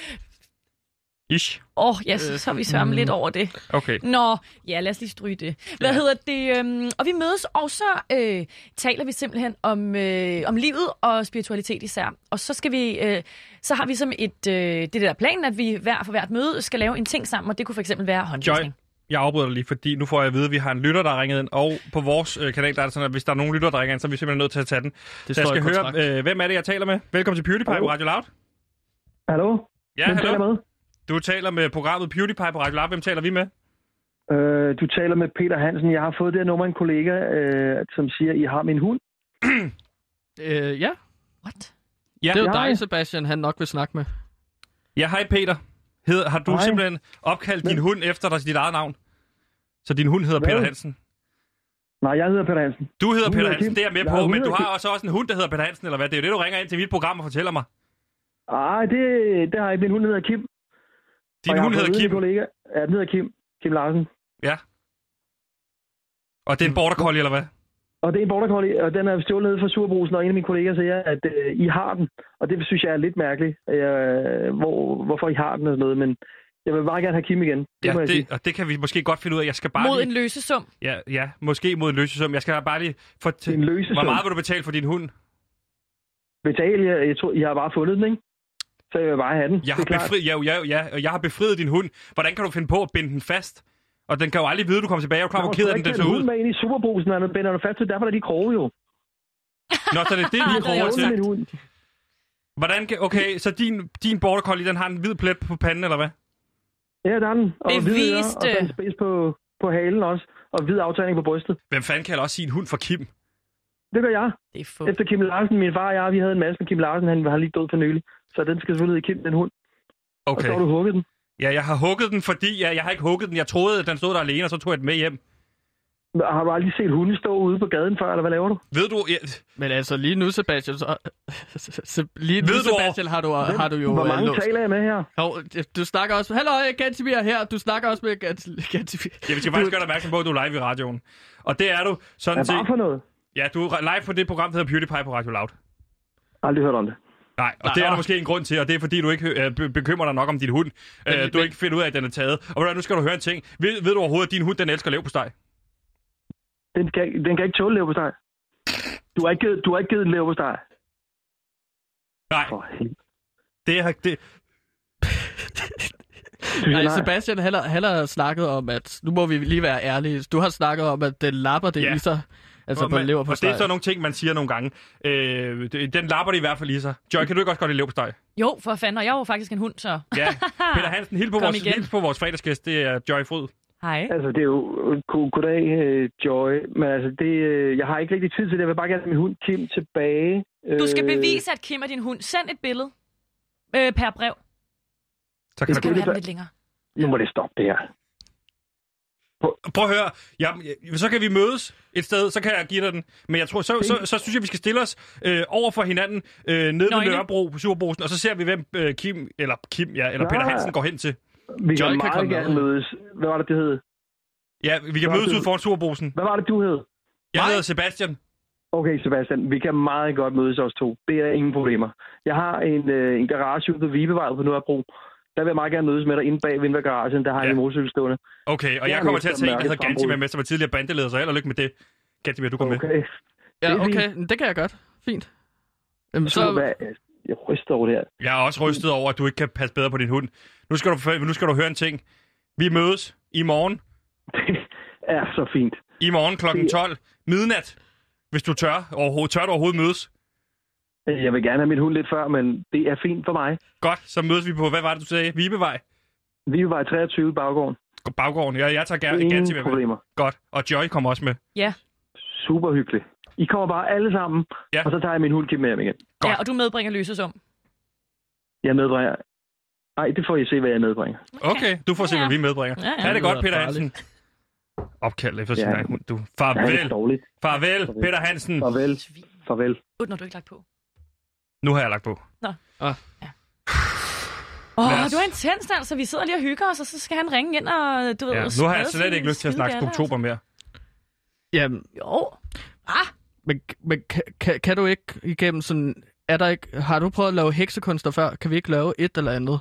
A: Ish.
D: Åh, oh, ja, så, så er vi sørger lidt over det.
A: Okay.
D: Nå, ja, lad os lige stryge det. Hvad
A: Ja.
D: ja. hedder det? Øhm, og vi mødes, og så øh, taler vi simpelthen om, øh, om livet og spiritualitet især. Og så skal vi, øh, så har vi som et, øh, det der plan, at vi hver for hvert møde skal lave en ting sammen, og det kunne for eksempel være
A: Joy,
D: håndvisning.
A: jeg afbryder dig lige, fordi nu får jeg at vide, at vi har en lytter, der har ringet ind, og på vores øh, kanal, der er det sådan, at hvis der er nogen lytter, der ringer ind, så er vi simpelthen nødt til at tage den.
C: Det
A: Så jeg
C: står i
A: skal høre,
C: kontrakt.
A: øh, hvem er det, jeg taler med? Velkommen til PewDiePie på Radio Loud.
E: Hallo?
A: Ja,
E: Hvem taler
A: hallo.
E: med?
A: Du taler med programmet PewDiePie på Radio Loud. Hvem taler vi med?
E: Øh, du taler med Peter Hansen. Jeg har fået det her nummer af en kollega, øh, som siger, I har min hund.
C: Øh, ja,
D: What?
A: Ja,
C: det er jo
E: Jeg-
C: dig, Sebastian, han nok vil snakke med.
A: ja hej Peter. Hed, har du
E: Hej.
A: simpelthen opkaldt din hund efter dig, dit eget navn? Så din hund hedder
E: Hvad?
A: Peter Hansen.
E: Nej, jeg hedder Peter Hansen.
A: Du hedder
E: Hun
A: Peter
E: hedder
A: Hansen,
E: Kim.
A: det er jeg med
E: Jeg
A: på,
E: er
A: men du
E: 100
A: har også også en hund, der hedder Peter Hansen, eller hvad? Det er jo det, du ringer ind til mit program og fortæller mig.
E: Ej, det, det har jeg ikke. Min hund hedder Kim. og
A: Din
E: jeg har
A: hund
E: fået
A: hedder
E: at vide
A: Kim,
E: af en Kollega. Ja, den hedder Kim. Kim Larsen.
A: og det er en border collie, eller hvad?
E: Og det er en border collie, og den er stjålet nede fra Surbrusen, og en af mine kolleger siger, at øh, I har den. Og det synes jeg er lidt mærkeligt, øh, hvor, hvorfor I har den og sådan noget, men jeg vil bare gerne have Kim igen. Det
A: Ja,
E: må jeg sige.
A: det, og det kan vi måske godt finde ud af. Jeg skal bare
D: Mod
A: lige...
D: en løsesum.
A: Ja, ja, måske mod en løsesum. Jeg skal bare lige
E: Det er en
A: fortælle,
E: løsesum.
A: hvor meget vil du betale for din hund?
E: Betal, jeg, jeg, tror, jeg har bare fundet den, ikke? Så jeg vil bare have den.
A: Jeg
E: det
A: har,
E: er klart.
A: befri... ja, ja, ja, og jeg har befriet din hund. Hvordan kan du finde på at binde den fast? Og den kan jo aldrig vide, at du kommer tilbage. Jeg er jo klar, hvor ked af den, den så ud.
E: med ind i superbrusen, og han binder den fast til, derfor er de kroge jo.
A: Nå, så det er det,
D: Ah,
A: vi
D: det er
A: kroger
D: jo
A: til.
D: sagt.
E: min hund.
A: Hvordan kan... Okay, så din, din border collie, den har en hvid plet på panden, eller hvad?
E: Ja, der er den. Og
D: Det
E: hvid ører,
D: viste.
E: Og så en spids på, på halen også. Og hvid aftegning på brystet.
A: Hvem fanden kalder også sin hund for Kim?
E: Det gør jeg.
D: Det er fugt.
E: Efter Kim Larsen, min far og jeg, vi havde en masse med Kim Larsen. Han har lige død for nylig. Så den skal selvfølgelig i Kim, den hund. Og
A: Okay.
E: så har du hugget den.
A: Ja, jeg har hugget den, fordi jeg, jeg har ikke hugget den. Jeg troede, at den stod der alene, og så tog jeg den med hjem.
E: Men Har du aldrig set hunde stå ude på gaden før, eller hvad laver du?
A: Ved du... Ja,
C: Men altså, lige nu, Sebastian, så, se, lige nu,
A: Ved du, hvor-
C: Sebastian, har du, har du jo
E: Hvor
C: øh,
E: mange
C: låst.
E: taler jeg med her?
C: Jo, øh, du snakker også... Hallo, Gantimir her. Du snakker også med Gant- Gantimir.
A: ja, vi skal faktisk gøre dig opmærksom på, at du er live i radioen. Og det er du sådan
E: Hvad
A: set...
E: bare for noget?
A: Ja, du er live på det program, der hedder PewDiePie på Radio Loud.
E: Aldrig hørt om det.
A: Nej, og Nej, det er der måske en grund til, og det er fordi, du ikke øh, be- bekymrer dig nok om din hund. Men, øh, du
C: men-
A: ikke finder ud af, at den er taget. Og ved du hvad, nu skal du høre en ting. Ved, ved du overhovedet, at din hund, den elsker leverpostej?
E: Den kan, ikke- den kan ikke tåle leverpostej. Du har ikke givet, du har ikke givet en leverpostej.
A: Nej,
E: For helvede.
A: det er... Det...
E: Synes jeg,
C: Nej,
E: nej.
C: Sebastian, han har- han har snakket om, at... Nu må vi lige være ærlige. Du har snakket om, at den lapper det
A: Ja.
C: i sig. Altså
A: og,
C: på
A: man,
C: lever på
A: og det er sådan nogle ting, man siger nogle gange. Øh, det- den lapper det i hvert fald i sig. Joy, kan du ikke også godt lide leverpostej?
D: Jo, for fanden, og jeg er jo faktisk en hund, så
A: Ja. Peter Hansen, hils på,
D: Kom
A: vores,
D: igen.
A: hils på vores fredagsgæst. Det er Joy Fryd.
D: hej.
E: Altså, det er jo... go- Goddag, øh, Joy. Men altså, det, øh, jeg har ikke rigtig tid til det. Jeg vil bare gerne have min hund Kim tilbage.
D: Du skal bevise, at Kim er din hund. Send et billede øh, per brev.
A: Så kan
E: Det
A: man
D: Kan
E: er
D: du
E: det,
D: have den
E: der-
D: lidt længere?
E: Nu må det stoppe, det her.
A: Prøv at høre, ja, så kan vi mødes et sted, så kan jeg give dig den. Men jeg tror, så, så, så synes jeg, vi skal stille os øh, over for hinanden øh, nede ved
D: Nøgne.
A: Nørrebro på Superbrosen, og så ser vi, hvem øh, Kim, eller, Kim, ja, eller Peter
E: Nej.
A: Hansen går hen til.
E: Vi
C: Joy
E: kan
C: kan
E: meget
C: komme
E: gerne
C: med.
E: mødes. Hvad var det, det hed?
A: Ja, vi kan
E: Nå,
A: mødes
E: det-
A: ud foran Superbrosen.
E: Hvad var det, du hed?
A: Jeg
C: Nej.
A: hedder Sebastian.
E: Okay, Sebastian, vi kan meget godt mødes os to. Det er ingen problemer. Jeg har en, øh, en garage ude på Vibevej på Nørrebro. Der vil jeg meget gerne mødes med dig inde bag vintergaragen. Der har jeg
A: Ja.
E: ja. en motorcykel stående.
A: Okay, og
E: Jeg
A: jeg
E: er
A: kommer
E: lidt
A: til at
E: som
A: tage en, der
E: mørke
A: hedder Gantimer
E: frembrud.
A: med, som var tidligere bandeleder, så held og lykke med det. Gantimer, du går med.
E: Okay.
C: Ja,
E: det er
C: okay. Det kan jeg godt. Fint. Jamen,
E: Så...
C: så...
E: Hvad? Jeg ryster over det her.
A: Jeg er også rystet over, at du ikke kan passe bedre på din hund. Nu skal du, nu skal du høre en ting. Vi mødes i morgen,
E: Det er så fint.
A: i morgen kl. 12, midnat, hvis du tør overhovedet. Tør du overhovedet mødes?
E: Jeg vil gerne have min hund lidt før, men det er fint for mig.
A: Godt, så mødes vi på, hvad var det, du sagde? Vibevej?
E: Vibevej 23 i baggården.
A: Baggården. Jeg, jeg tager gerne
E: Ingen
A: Gantimer med.
E: problemer.
A: Godt, og Joy kommer også med.
D: Ja.
E: Super hyggeligt. I kommer bare alle sammen,
A: Ja.
E: ja. og så tager jeg min hund Kim med hjem igen.
A: Godt.
D: ja, og du medbringer løsesum.
E: Jeg medbringer... Nej, det får I se, hvad jeg medbringer.
A: Okay, du får se,
D: Ja,
A: hvad vi medbringer.
D: Ja, ja.
A: Ha' det godt,
C: Det lyder
A: Peter Hansen. Opkald efter sin
E: Ja.
A: egen hund, du.
E: Nej, det er
A: Farvel,
E: dårligt.
A: farvel, Peter Hansen.
E: Farvel.
D: Svin.
E: Farvel.
D: Ud, når du ikke lagt på.
A: Nu har jeg lagt på.
D: Åh,
A: Lad
D: oh,
A: os-
D: du er intens, altså. Vi sidder lige og hygger os, og så skal han ringe ind og... Du ved,
A: Ja, nu
D: sprede
A: har jeg slet
D: sine
A: ikke lyst til at snakke
D: skidegaller,
A: oktober mere.
C: Jamen,
D: altså. Jo. Ah,
C: men, men kan, kan, kan du ikke igennem sådan... Er der ikke, har du prøvet at lave heksekunster før? Kan vi ikke lave et eller andet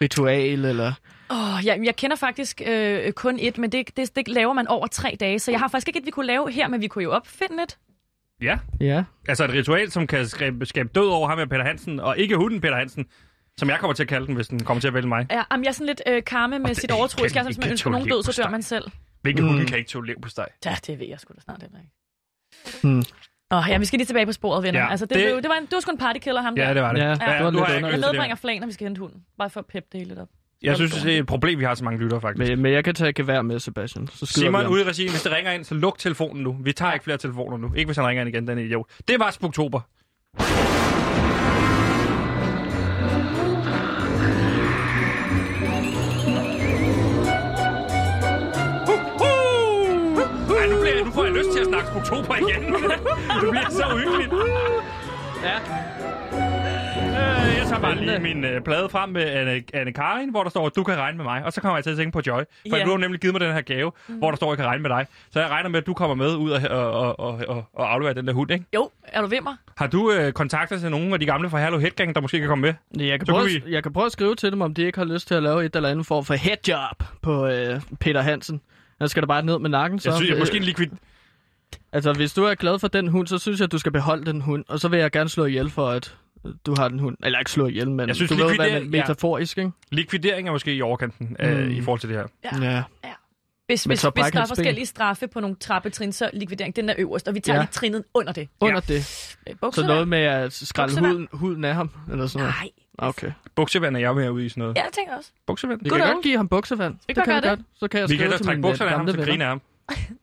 C: ritual? Eller...
D: Åh, jeg, jeg kender faktisk øh, kun et, men det, det, det laver man over tre dage. Så jeg har faktisk ikke et, vi kunne lave her, men vi kunne jo opfinde et.
A: Ja,
C: Ja.
A: altså et ritual, som kan skabe, skabe død over ham med Peter Hansen, og ikke hunden Peter Hansen, som jeg kommer til at kalde den, hvis den kommer til at vælge mig.
D: Ja, jamen, jeg er sådan lidt øh, karme med
A: det-
D: sit overtro.
A: kan
D: Skal altså
A: vi
D: hvis man
A: ikke
D: ønsker nogen
A: tåle
D: død, så dør
A: leverpostej?
D: man selv.
A: Hvilke
C: Mm.
A: mm. hunde kan ikke tåle lev på steg?
D: Ja, det ved jeg sgu da snart heller ikke.
C: Hmm.
D: Åh, ja, vi skal lige tilbage på sporet, venner. Ja,
A: Ja,
D: altså, det,
A: det-
D: det, det, var en, det var sgu en partykiller, ham
A: Ja,
D: der.
A: det var det.
C: Ja, det var
A: nu
C: lidt
A: har jeg, ikke
D: Jeg
A: lyst til det
D: medbringer
A: her.
D: flæn, når vi skal hente hunden. Bare for at peppe det hele lidt op.
A: jeg synes, det er et problem, vi har så mange lyttere, faktisk.
C: Men, men jeg kan tage gevær med, Sebastian. Så skyder vi
A: Simon
C: ham.
A: ude i regien, hvis det ringer ind, så luk telefonen nu. Vi tager ikke flere telefoner nu. Ikke hvis han ringer ind igen, den idiot. Det var Spuktober. Ej, nu, bliver, jeg- nu får jeg lyst til at snakke Spuktober igen. det bliver så uhyggeligt.
C: Ja.
A: Øh, jeg tager bare lige min øh, plade frem med Anne, Anne Karin, hvor der står, at du kan regne med mig. Og så kommer jeg til at tænke på Joy. For
D: Ja.
A: yeah. du har nemlig givet mig den her gave, mm. hvor der står, at jeg kan regne med dig. Så jeg regner med, at du kommer med ud og, og, og, og, og afleverer den der hund, ikke?
D: Jo, er du ved mig?
A: Har du øh, kontakter til nogen af de gamle fra Hello Headgang, der måske kan komme med?
C: Jeg kan,
A: Så
C: prøve,
A: kan
C: at- jeg kan prøve at skrive til dem, om de ikke har lyst til at lave et eller andet form for headjob på øh, Peter Hansen. Jeg skal da bare ned med nakken, så.
A: Jeg synes, jeg
C: Øh,
A: måske en likvid...
C: Altså, hvis du er glad for den hund, så synes jeg, at du skal beholde den hund. Og så vil jeg gerne slå ihjel for, at øh, du har den hund. Eller ikke slå ihjel, men
A: Jeg synes,
C: du ved,
A: likvider-
C: hvad man
A: ja.
C: metaforisk, ikke?
A: likvidering er måske i overkanten øh,
C: Mm.
A: i forhold til det her.
D: Ja. Hvis,
C: Men
D: hvis,
C: så
D: hvis
C: brækker
D: der er
C: hans ben.
D: forskellige straffe på nogle trappetrin, så likvidering, den er øverst, og vi tager
C: Ja.
D: ja. lige trinet under det.
C: Under det.
D: Øh,
C: Så
D: Bukserne?
C: noget med at skrælle
D: Buksevand.
C: huden, huden af ham, eller sådan noget.
D: Nej.
C: Okay.
A: Buksevand er jeg mere ude i sådan noget.
D: Ja, det tænker jeg også.
A: Buksevand?
C: Vi
D: Good
C: kan
D: old.
C: godt give ham buksevand.
D: vi
C: Det
D: bare
C: kan
D: gøre
C: vi
D: det?
C: godt. Så kan jeg
A: Vi kan
C: skrive
A: ellers
C: til
A: trække
C: mine øh,
A: bukserne af ham,
C: gamle
A: så griner
C: venner.
A: af ham.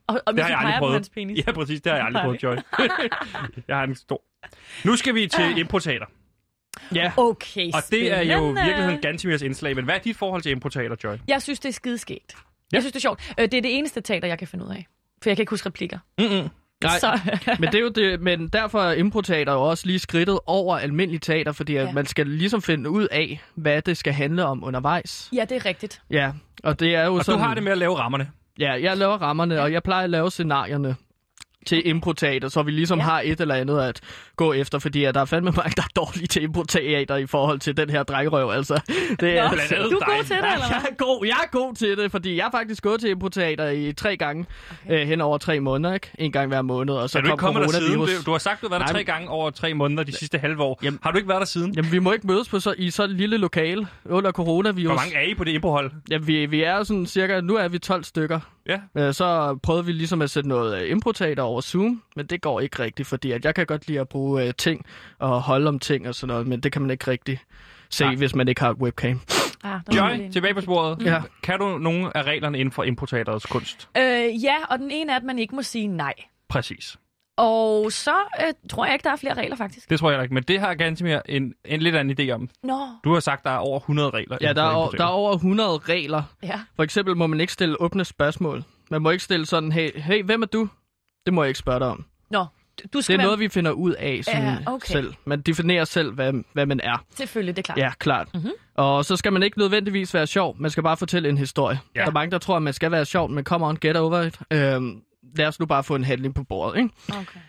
D: Og,
A: Det
D: og hvis
A: har
D: vi
A: jeg aldrig
D: peger på
A: prøvet.
D: hans penis.
A: Ja, præcis. Det har jeg aldrig prøvet, Joy. jeg har en stor... Nu skal vi
C: Øh.
A: til importater.
C: Ja.
D: Okay,
A: Og det er jo i
D: spændende.
A: virkeligheden Gantimirs indslag, men hvad er dit forhold til importater, Joy?
D: Jeg synes, det er skideskægt. Jeg synes, det er sjovt. Øh, Det er det eneste teater, jeg kan finde ud af. For jeg kan ikke huske replikker.
A: Mm-mm.
C: Nej,
D: Så,
C: men, det er jo det, men derfor er improteater jo også lige skridtet over almindelig teater, fordi at
D: Ja.
C: man skal ligesom finde ud af, hvad det skal handle om undervejs.
D: ja, det er rigtigt.
C: Ja, og det er jo
A: Og du
C: sådan...
A: har det med at lave rammerne.
C: Ja, jeg laver rammerne, og jeg plejer at lave scenarierne til improteater, så vi ligesom
D: Ja.
C: ja. har et eller andet at gå efter, fordi at der er fandme mange, der er dårlige til improteater i forhold til den her drengerøv, altså. Det er,
D: Nå,
A: blandt andet
D: du er god
A: dig.
D: til det,
C: Nej,
D: eller
C: jeg
D: hvad?
C: er, god, jeg er god til det, fordi jeg er faktisk gået til improteater i tre gange okay. øh, hen over tre måneder, ikke? En gang hver måned, og
A: Så
C: så
A: er du ikke
C: kom
A: kommet der siden?
C: coronavirus.
A: Det- Du har sagt, du har været der
C: Nej,
A: tre
C: men-
A: gange over tre måneder de sidste halve år.
C: Jamen-
A: Har du ikke været der siden?
C: Jamen, vi må ikke mødes på så, i så lille lokale under coronavirus.
A: Hvor mange er I på det importhold?
C: Jamen, vi, vi er jo sådan cirka, nu er vi 12 stykker.
A: Ja.
C: Øh, Så prøvede vi ligesom at sætte noget øh, improteater over Zoom, men det går ikke rigtigt, fordi at jeg kan godt lide at bruge øh, ting og holde om ting og sådan noget, men det kan man ikke rigtig se,
A: Nej.
C: hvis man ikke har et webcam.
D: Ah, der var
A: Joy,
D: lige en.
A: tilbage på sporet.
C: Ja.
A: Kan du nogle af reglerne inden for importaterets kunst?
D: Øh, ja, og den ene er, at man ikke må sige nej.
A: Præcis.
D: Og så øh, tror jeg ikke, der er flere regler, faktisk.
A: Det tror jeg ikke, men det har Gantemir en, en lidt anden idé om.
D: Nå,
A: Du har sagt, der er over 100 regler.
C: Ja,
A: inden
C: der er,
A: for
C: o-
A: importater.
C: der er over 100 regler.
D: ja.
C: For eksempel må man ikke stille åbne spørgsmål. Man må ikke stille sådan, hey, hey hvem er du? Det må jeg ikke spørge dig om.
D: Nå, du- du
C: Det
D: skal
C: er
D: være...
C: noget, vi finder ud af sådan
D: Ja, okay.
C: selv. Man definerer selv, hvad, hvad man er.
D: Selvfølgelig, det er klart.
C: Ja, klart.
D: Mhm.
C: Mm-hmm. Og så skal man ikke nødvendigvis være sjov, man skal bare fortælle en historie.
A: Ja.
C: Ja. Der er mange, der tror, at man skal være sjov, men come on, get over it. Øhm, lad os nu bare få en handling på bordet, ikke?
D: Okay.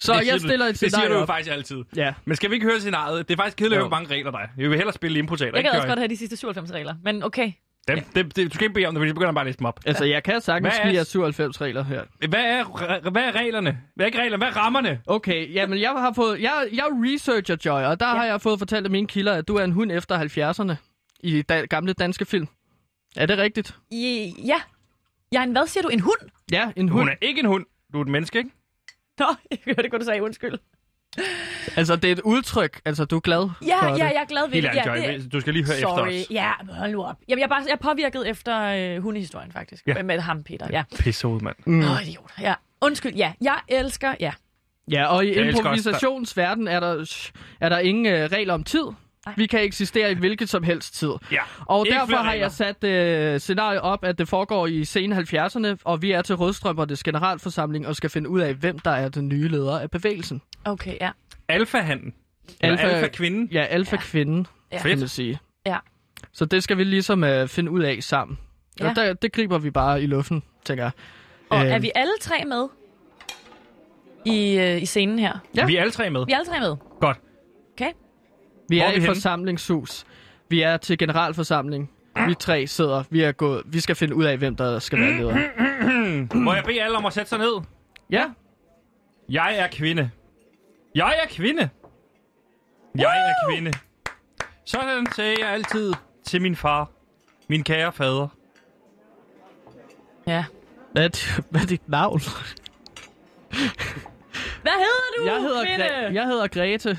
C: Så
A: Det siger
C: jeg
A: du-
C: stiller et
A: Det siger
C: scenarie
A: du jo
C: op.
A: faktisk altid.
C: Ja.
A: Men skal vi ikke høre scenariet? Det er faktisk kedeligt,
C: Jo.
A: hvor mange regler der er. Jeg vil hellere spille importater.
D: Jeg
A: ikke,
D: gad også
A: Joy?
D: godt have de sidste 97 regler, men okay.
A: Dem, dem, dem, du skal ikke bede om det, fordi du begynder bare at læse dem op.
C: Altså, jeg kan sagtens
A: Hvad er-
C: give jer 97 regler her.
A: Hvad er, re- hvad er reglerne? Hvad er ikke reglerne? Hvad er rammerne?
C: Okay, jamen jeg har fået... Jeg, jeg er researcher, Joy, og der ja. har jeg fået fortalt af mine kilder, at du er en hund efter 70'erne i da, gamle danske film. Er det rigtigt?
D: I, ja. Jeg er en hvad, siger du? En hund?
C: Ja, en hund.
A: Hun er ikke en hund. Du er et menneske, ikke?
D: Nå, jeg hørte godt, du sagde undskyld.
C: Altså, det er et udtryk. Altså, du er glad
D: Ja,
C: for
D: ja,
C: det.
D: jeg er glad ved
A: Helt
D: det.
A: ærligt,
D: Ja, det
A: Joy. Du skal lige høre
D: Sorry.
A: efter os.
D: Ja, men hold nu op. Jamen, jeg, er bare, jeg er påvirket efter øh, hundehistorien, faktisk.
A: Ja. Mm.
D: Ja. Med ham, Peter. Ja.
A: Pissehoved, mand.
F: Mm.
D: Åh, oh, idiot. Ja. Undskyld, ja. Jeg elsker, ja.
C: Ja, og i
A: elsker også, der-
C: improvisationsverden er der, er der ingen øh, regler om tid. Vi kan eksistere i hvilket som helst tid.
A: Ja.
C: Og
A: Ikke
C: Ikke derfor
A: flere
C: har
A: regler.
C: jeg sat øh, scenariet op, at det foregår i sen 70'erne, og vi er til Rødstrømpernes generalforsamling og skal finde ud af, hvem der er den nye leder af bevægelsen.
D: Okay, ja.
A: Alfa-handen. Alfa...
C: Alfa-
A: Alfa-kvinden.
C: Ja, alfa-kvinden,
D: Ja.
C: ja. kan man sige.
D: Ja.
C: Så det skal vi ligesom øh, finde ud af sammen. Ja.
D: Ja.
C: Og der, det griber vi bare i luften, tænker jeg.
D: Og
C: Øh.
A: Øhm.
D: er vi alle tre med i, øh, i scenen her?
A: Ja.
C: Ja.
A: Vi er alle tre med.
D: Vi er alle tre med.
A: Godt.
D: Okay.
C: Vi
A: Hvor
C: er,
A: er vi
C: i
A: henne?
C: forsamlingshus. Vi er til generalforsamling. Vi tre sidder. Vi er gået. Vi skal finde ud af, hvem der skal være leder.
A: Må jeg bede alle om at sætte sig ned?
C: Ja,
A: Jeg er kvinde. Jeg er kvinde. Jeg er kvinde. Sådan sagde jeg altid til min far. Min kære fader.
D: Ja.
C: hvad er, dit, hvad er dit navn?
D: Hvad hedder du,
C: Jeg hedder,
D: kvinde?
C: Gre- jeg hedder Grete.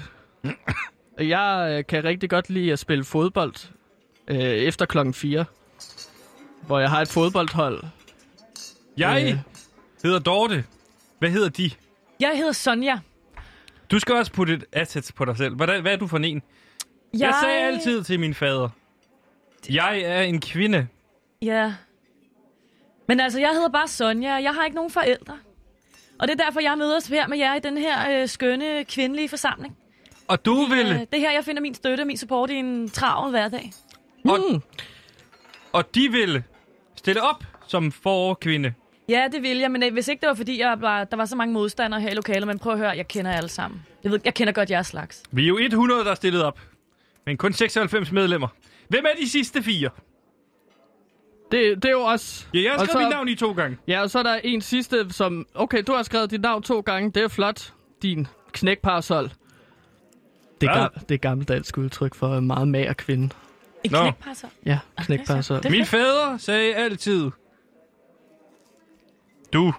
C: Jeg øh, kan rigtig godt lide at spille fodbold øh, efter klokken 4. Hvor jeg har et fodboldhold.
A: Jeg
C: Øh.
A: hedder Dorte. Hvad hedder de?
D: Jeg hedder Sonja.
A: Du skal også putte et assets på dig selv. Hvordan, hvad er du for en? Jeg... jeg sagde altid til min fader. Jeg er en kvinde.
D: Ja. Men altså, jeg hedder bare Sonja, og jeg har ikke nogen forældre. Og det er derfor, jeg mødes her med jer i den her øh, skønne kvindelige forsamling.
A: Og du vil...
D: Øh, det er her, jeg finder min støtte og min support i en travl hverdag.
C: mm.
A: Og, og de vil stille op som forkvinde.
D: Ja, det vil jeg, men øh, hvis ikke det var, fordi jeg var, der var så mange modstandere her i lokalet, men prøv at høre, jeg kender jer alle sammen. Jeg, ved, jeg kender godt jeres slags.
A: Vi er jo 100, der er stillet op. Men kun 96 medlemmer. Hvem er de sidste fire?
C: Det, det er jo os.
A: Ja, jeg har
C: Og så-
A: skrevet mit navn i to gange.
C: Ja, og så er der en sidste, som... Okay, du har skrevet dit navn to gange. Det er flot. Din knækparasol. Det er,
A: Hvad?
C: gam- det er gammeldansk udtryk for en meget mager kvinde.
D: En
A: Nå.
D: knækpasser.
C: Ja, knækparasol.
D: Det-
A: Min fader sagde altid... Du.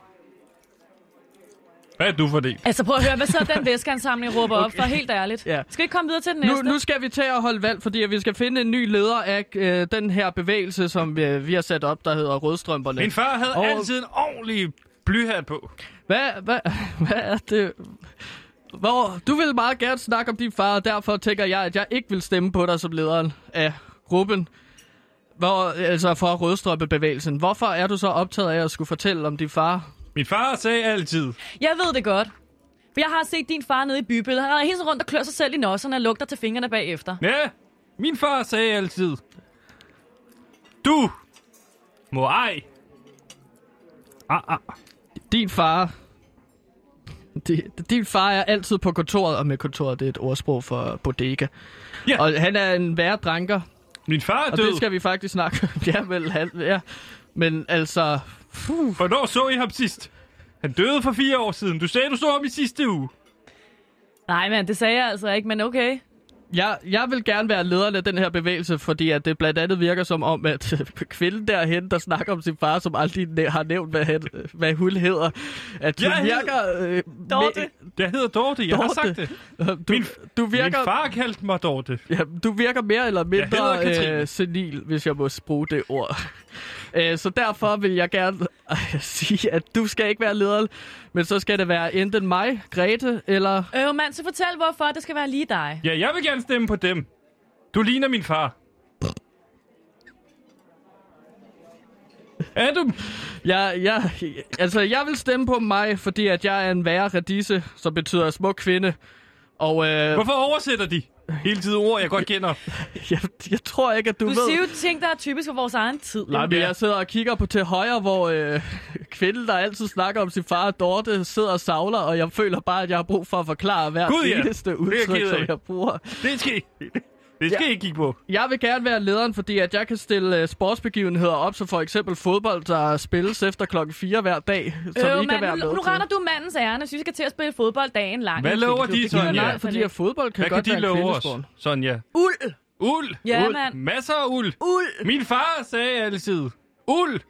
A: Hvad er du for det?
D: Altså prøv at høre, hvad så den væskeansamling råber op for, helt ærligt.
C: Ja.
D: Skal vi ikke komme videre til den
C: Nu,
D: næste?
C: nu skal vi til at holde valg, fordi at vi skal finde en ny leder af øh, den her bevægelse, som øh, vi har sat op, der hedder Rødstrømperne.
A: Min far havde
C: Og-
A: altid en ordentlig blyhat på.
C: Hvad, hvad, hvad er det? Hvor, du vil meget gerne snakke om din far, og derfor tænker jeg, at jeg ikke vil stemme på dig som lederen af gruppen. Hvor, altså for rødstrømpebevægelsen. Hvorfor er du så optaget af at skulle fortælle om din far?
A: Min far sagde altid...
D: Jeg ved det godt. For jeg har set din far nede i bybilledet. Han er hele tiden rundt og klør sig selv i nosserne og lugter til fingrene bagefter.
A: Ja, min far sagde altid... Du må ej. Ah, ah.
C: Din far... Di- Din far er altid på kontoret, og med kontoret det er et ordsprog for bodega.
A: Ja.
C: Og han er en værre dranker,
A: Min far er
C: og
A: død.
C: det skal vi faktisk snakke om. ja, vel, han, ja. Men altså,
A: Hvornår så I ham sidst? Han døde for fire år siden. Du sagde, du så ham i sidste uge.
D: Nej, mand, det sagde jeg altså ikke, men okay.
C: Jeg, jeg vil gerne være lederen af den her bevægelse, fordi at det blandt andet virker som om, at kvinden derhen, der snakker om sin far, som aldrig næ- har nævnt, hvad, han, hvad hun hedder, at du
A: Jeg hed-
C: virker... Øh,
D: Dorte.
A: Jeg hedder Dorte, jeg har sagt det.
C: Dorte. Du,
A: Min-
C: du,
A: Virker... Min
C: virker,
A: far kaldte mig Dorte.
C: ja, du virker mere eller
A: hedder
C: mindre
A: Katrine.
C: øh, senil, hvis jeg må bruge det ord. Øh, Så derfor vil jeg gerne øh, sige, at du skal ikke være lederen, men så skal det være enten mig, Grete, eller...
D: Øh, mand, så fortæl hvorfor det skal være lige dig.
A: Ja, jeg vil gerne stemme på dem. Du ligner min far. Er du?
C: Jeg, jeg, altså, jeg vil stemme på mig, fordi at jeg er en værre radise, som betyder smuk kvinde. Og øh,
A: Hvorfor oversætter de hele tiden ord, jeg godt kender?
C: jeg, jeg tror ikke, at du,
D: Du
C: ved...
D: siger jo ting, der er typisk for vores egen tid.
C: Nej, men jeg sidder og kigger på til højre, hvor øh, kvinden, der altid snakker om sin far, Dorte, sidder og savler, og jeg føler bare, at jeg har brug for at forklare hver
A: Gud, ja.
C: eneste
A: jeg
C: udtryk,
A: ked af.
C: som jeg bruger.
A: Det skal I, det skal ja. I ikke kigge på.
C: Jeg vil gerne være lederen, fordi at jeg kan stille øh, sportsbegivenheder op, som for eksempel fodbold, der spilles efter klokken 4 hver dag, som
D: øh,
C: I kan
D: mand,
C: være med
D: nu, nu
C: til.
D: render du mandens ærne, så vi skal til at spille fodbold dagen lang.
A: Hvad lover de,
D: gider jeg
A: Sonja?
D: i
C: Nej,
D: hvert fald
C: fordi
D: ikke.
C: at fodbold kan
A: Hvad kan
C: godt
A: de
C: være en
A: love os,
C: kvindesport.
A: Sonja?
D: Uld!
A: Uld.
D: Ja,
A: uld.
D: mand.
A: Masser af uld.
D: Uld!
A: Min far sagde altid, uld,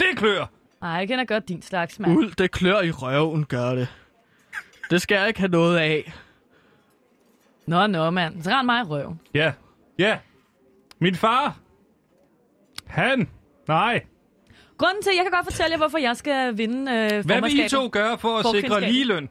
A: det klør.
D: Nej, jeg kender godt din slags, mand.
C: Uld, det klør i røven, gør det. Det skal jeg ikke have noget af.
D: Nå, nå, mand. Så rend mig i røven.
A: Ja, ja. Min far, han, nej.
D: Grunden til, jeg kan godt fortælle jer, hvorfor jeg skal vinde øh,
A: Hvad vil I
D: formandskabet.
A: to gøre for at sikre
D: Forkvindskabet.
A: ligeløn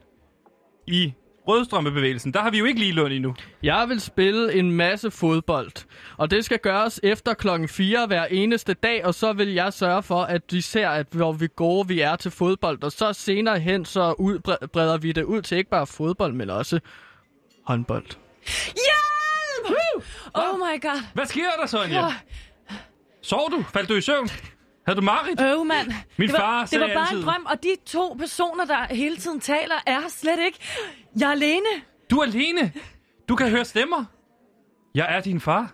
A: i rødstrømmebevægelsen, der har vi jo ikke ligeløn endnu.
C: Jeg vil spille en masse fodbold, og det skal gøres efter klokken 4 hver eneste dag, og så vil jeg sørge for, at de ser, at hvor vi gode vi er til fodbold, og så senere hen, så ud, breder vi det ud til ikke bare fodbold, men også håndbold.
D: Hjælp! Oh my god.
A: Hvad sker der så, Anja? Sov du? Faldt du i søvn? Havde du mareridt?
D: Øv, mand.
A: Min
D: det var,
A: far
D: Det
A: sagde
D: var bare
A: altid-
D: en drøm, og de to personer, der hele tiden taler, er her slet ikke. Jeg er alene.
A: Du er alene. Du kan høre stemmer. Jeg er din far.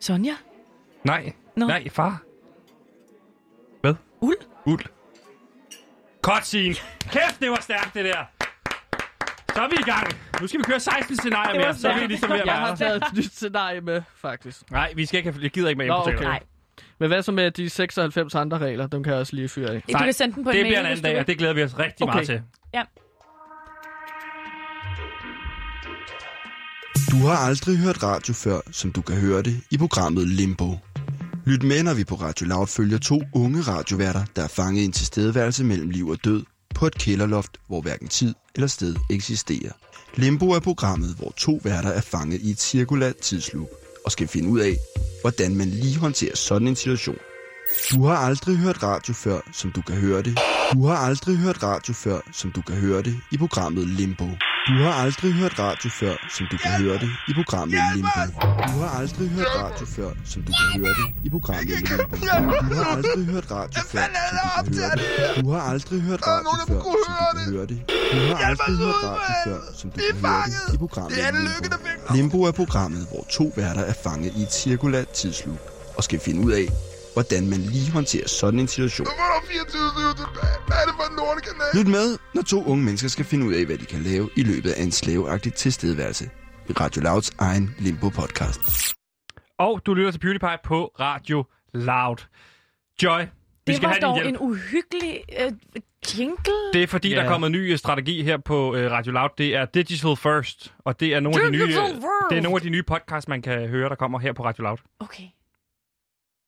D: Sonja?
A: Nej.
D: Nå.
A: Nej, far. Hvad?
D: Uld?
A: Uld. Cutscene. Kæft, det var stærkt, det der. Så er vi i gang. Nu skal vi køre 16 scenarier
D: Det var
A: mere, så er vi
D: stærkt.
A: ligesom ved at
C: Jeg har
A: være der.
C: taget et nyt scenarie med, faktisk.
A: Nej, vi skal ikke have... Jeg gider ikke med
C: Nå,
A: importater.
C: okay.
D: Nej.
C: Men hvad så med de 96 andre regler? Dem kan jeg også lige fyre af.
D: Du kan sende den på
A: det
D: en mail,
A: bliver en
D: hvis
A: anden
D: du
A: dag,
D: vil.
A: og det glæder vi os rigtig okay. meget
C: Okay.
A: til.
D: Ja.
G: Du har aldrig hørt radio før, som du kan høre det i programmet Limbo. Lyt med, når vi på Radio Loud følger to unge radioværter, der er fanget i en tilstedeværelse mellem liv og død på et kælderloft, hvor hverken tid eller sted eksisterer. Limbo er programmet, hvor to værter er fanget i et cirkulært tidsloop og skal finde ud af, hvordan man lige håndterer sådan en situation. Du har aldrig hørt radio før, som du kan høre det. Du har aldrig hørt radio før, som du kan høre det i programmet Limbo. Du har aldrig hørt radio før, som du kan høre det i programmet Limbo. Du har aldrig hørt radio før, som du kan høre det i programmet Limbo. Du har aldrig hørt radio før, som du kan høre det. Du har aldrig hørt radio før, som du kan høre det. Du har aldrig hørt radio før, som du kan høre det i programmet Limbo. Limbo er programmet, hvor to værter er fanget i et cirkulært tidsloop og skal finde ud af, hvordan man lige håndterer sådan en situation. Lyt med, når to unge mennesker skal finde ud af, hvad de kan lave i løbet af en slaveagtig tilstedeværelse. I Radio Louds egen Limbo-podcast.
A: Og du lytter til PewDiePie på Radio Loud. Joy, vi
D: Det
A: skal
D: var
A: have din
D: dog
A: hjælp.
D: en uhyggelig øh, jingle.
A: Det er fordi, yeah. der
C: Ja.
A: er kommet en ny øh, strategi her på øh, Radio Loud. Det er Digital First, og det er nogle af de nye,
D: Digital
A: øh,
D: First.
A: det er nogle af de nye podcasts, man kan høre, der kommer her på Radio Loud.
D: Okay.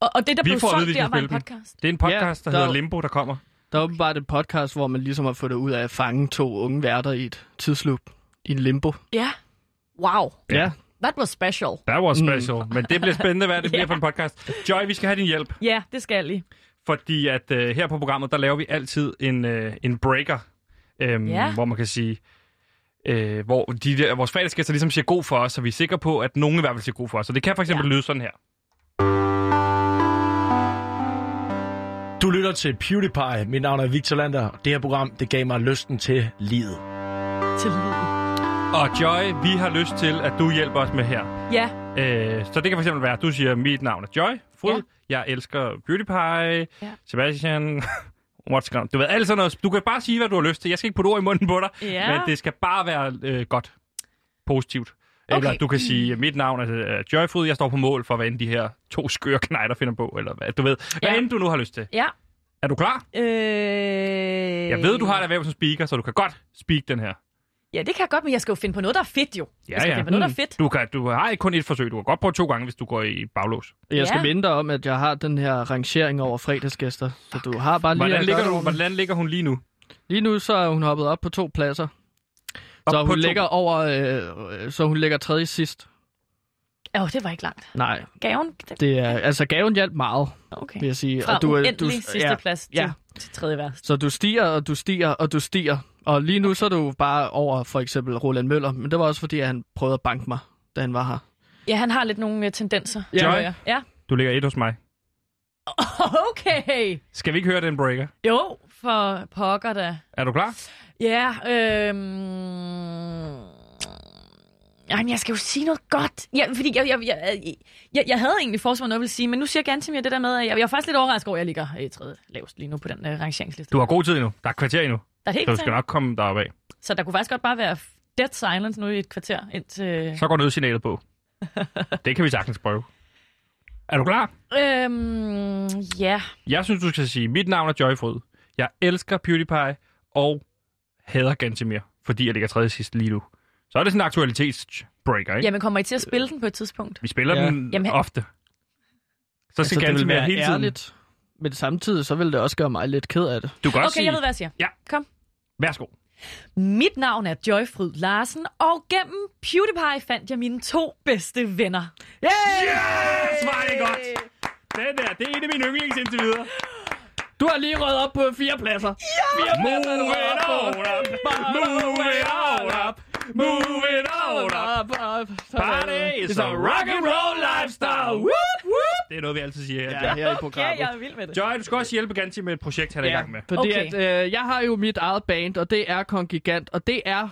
D: Og, og det, der
A: Vi
D: blev
A: får at vide,
D: solgt
A: vi
D: der,
A: skal
D: var en
A: spille den.
D: podcast.
A: Det er en podcast,
C: Ja,
A: der, der hedder
C: der-
A: Limbo, der kommer.
C: Der er åbenbart et podcast, hvor man ligesom har fundet ud af at fange to unge værter i et tidsloop. I en limbo.
D: Ja. Wow.
C: Ja.
D: That was special.
A: That was special. Mm. Men det bliver spændende, hvad det bliver for en podcast. Joy, vi skal have din hjælp,
D: Ja, det skal I.
A: fordi at øh, her på programmet, der laver vi altid en, øh, en breaker, øhm,
D: Ja.
A: hvor man kan sige... Øh, hvor de der, vores fredagsgæster ligesom siger god for os, så vi er sikre på, at nogen i hvert fald siger god for os. Så det kan for eksempel ja. lyde sådan her.
H: Du lytter til PewDiePie. Mit navn er Victor Lander. og Det her program, det gav mig lysten til livet.
D: Til
A: Og Joy, vi har lyst til, at du hjælper os med her.
D: Ja.
A: Øh, så det kan fx være, at du siger, mit navn er Joy, Fryd,
D: Ja.
A: ja. jeg elsker Beauty Pie,
D: Ja.
A: ja. Sebastian, what's going Du ved, alt sådan noget. Du kan bare sige, hvad du har lyst til. Jeg skal ikke putte ord i munden på dig,
D: Ja.
A: men det skal bare være øh, godt. Positivt.
D: Okay.
A: Eller du kan sige, mit navn er øh, Joy Fryd, jeg står på mål for, hvad end de her to skøre knejder finder på, eller hvad, du ved. Hvad
D: Ja.
A: end du nu har lyst til.
D: Ja.
A: Er du klar?
D: Øh...
A: Jeg ved, du har et erhverv som speaker, så du kan godt speak den her.
D: Ja, det kan jeg godt, men jeg skal jo finde på noget, der er fedt jo.
A: Ja,
D: jeg skal
A: ja. Mm.
D: finde på noget, der Altså, er fedt.
A: Du, kan, du har ikke kun et forsøg. Du kan godt prøve to gange, hvis du går i baglås.
C: Jeg skal
D: Ja.
C: minde dig om, at jeg har den her rangering over fredagsgæster. Så du har bare lige...
A: Hvordan
C: at
A: ligger,
C: gøre
A: du,
C: det ordentligt.
A: hvordan ligger hun lige nu?
C: Lige nu så er hun hoppet op på to pladser. så
A: Op
C: hun
A: på to-
C: ligger over... Øh, øh, så hun ligger tredje sidst.
D: Åh, oh, det var ikke langt.
C: Nej,
D: Gaven? det-
C: det er... Altså, gaven hjalp meget,
D: Okay.
C: vil jeg sige.
D: Fra
C: er-
D: uendelig sidste
C: ja,
D: plads til,
C: Ja.
D: til tredje værst.
C: Så du stiger, og du stiger, og du stiger. Og lige nu så er du bare over for eksempel Roland Møller, men det var også fordi, at han prøvede at banke mig, da han var her.
D: Ja, han har lidt nogle øh, tendenser.
C: Ja.
D: tror jeg. Ja.
A: Du ligger et hos mig.
D: Okay.
A: Skal vi ikke høre den breaker?
D: Jo, for pokker da.
A: Er du klar?
D: Ja, øhm... Jamen, jeg skal jo sige noget godt. Ja, fordi jeg, jeg, jeg, jeg, jeg havde egentlig forsvaret noget, jeg ville sige, men nu siger Gantemir det der med, at jeg, jeg er faktisk lidt overrasket over, at jeg ligger øh, i tredje lavest lige nu på den uh, rangeringsliste.
A: Du har god tid endnu. Der er et kvarter endnu.
D: der er et helt
A: Så du skal
D: tag.
A: nok komme deroppe af.
D: Så der kunne faktisk godt bare være dead silence nu i et kvarter indtil...
A: Så går nødsignalet på. Det kan vi sagtens prøve. Er du klar?
D: Øhm, ja.
A: Jeg synes, du skal sige, mit navn er Joy Fryd. Jeg elsker PewDiePie og hader Gantemir, fordi jeg ligger tredje sidst lige nu. Så er det sådan en aktualitetsbreaker, ikke?
D: Jamen, kommer I til at spille den på et tidspunkt?
A: Vi spiller
C: Ja.
A: den
D: Jamen, han-
A: ofte. Så skal altså, Gantemir hele tiden...
C: ærligt, men samtidig så ville det også gøre mig lidt ked af det.
A: Du kan også
D: Okay, jeg ved,
A: sige,
D: hvad jeg siger.
A: Ja.
D: Kom.
A: værsgo.
F: Mit navn er Joyfryd Larsen, og gennem PewDiePie fandt jeg mine to bedste venner.
A: Yes, var det godt. Den der, det er en af mine yndlings indtil videre.
C: Du har lige røget op på fire pladser.
A: Move it on up. Move it on up. Move it on up. Party is a rock and roll lifestyle. Whoop, whoop. Det er noget, vi altid siger her.
C: Ja,
A: Ja.
C: her i
F: Ja,
C: programmet.
F: jeg er vild med det.
A: Joy, du skal også hjælpe Ganti med et projekt, han er i gang med.
C: Fordi
F: Okay.
C: okay. at, øh, jeg har jo mit eget band, og det er Kong Gigant, og det er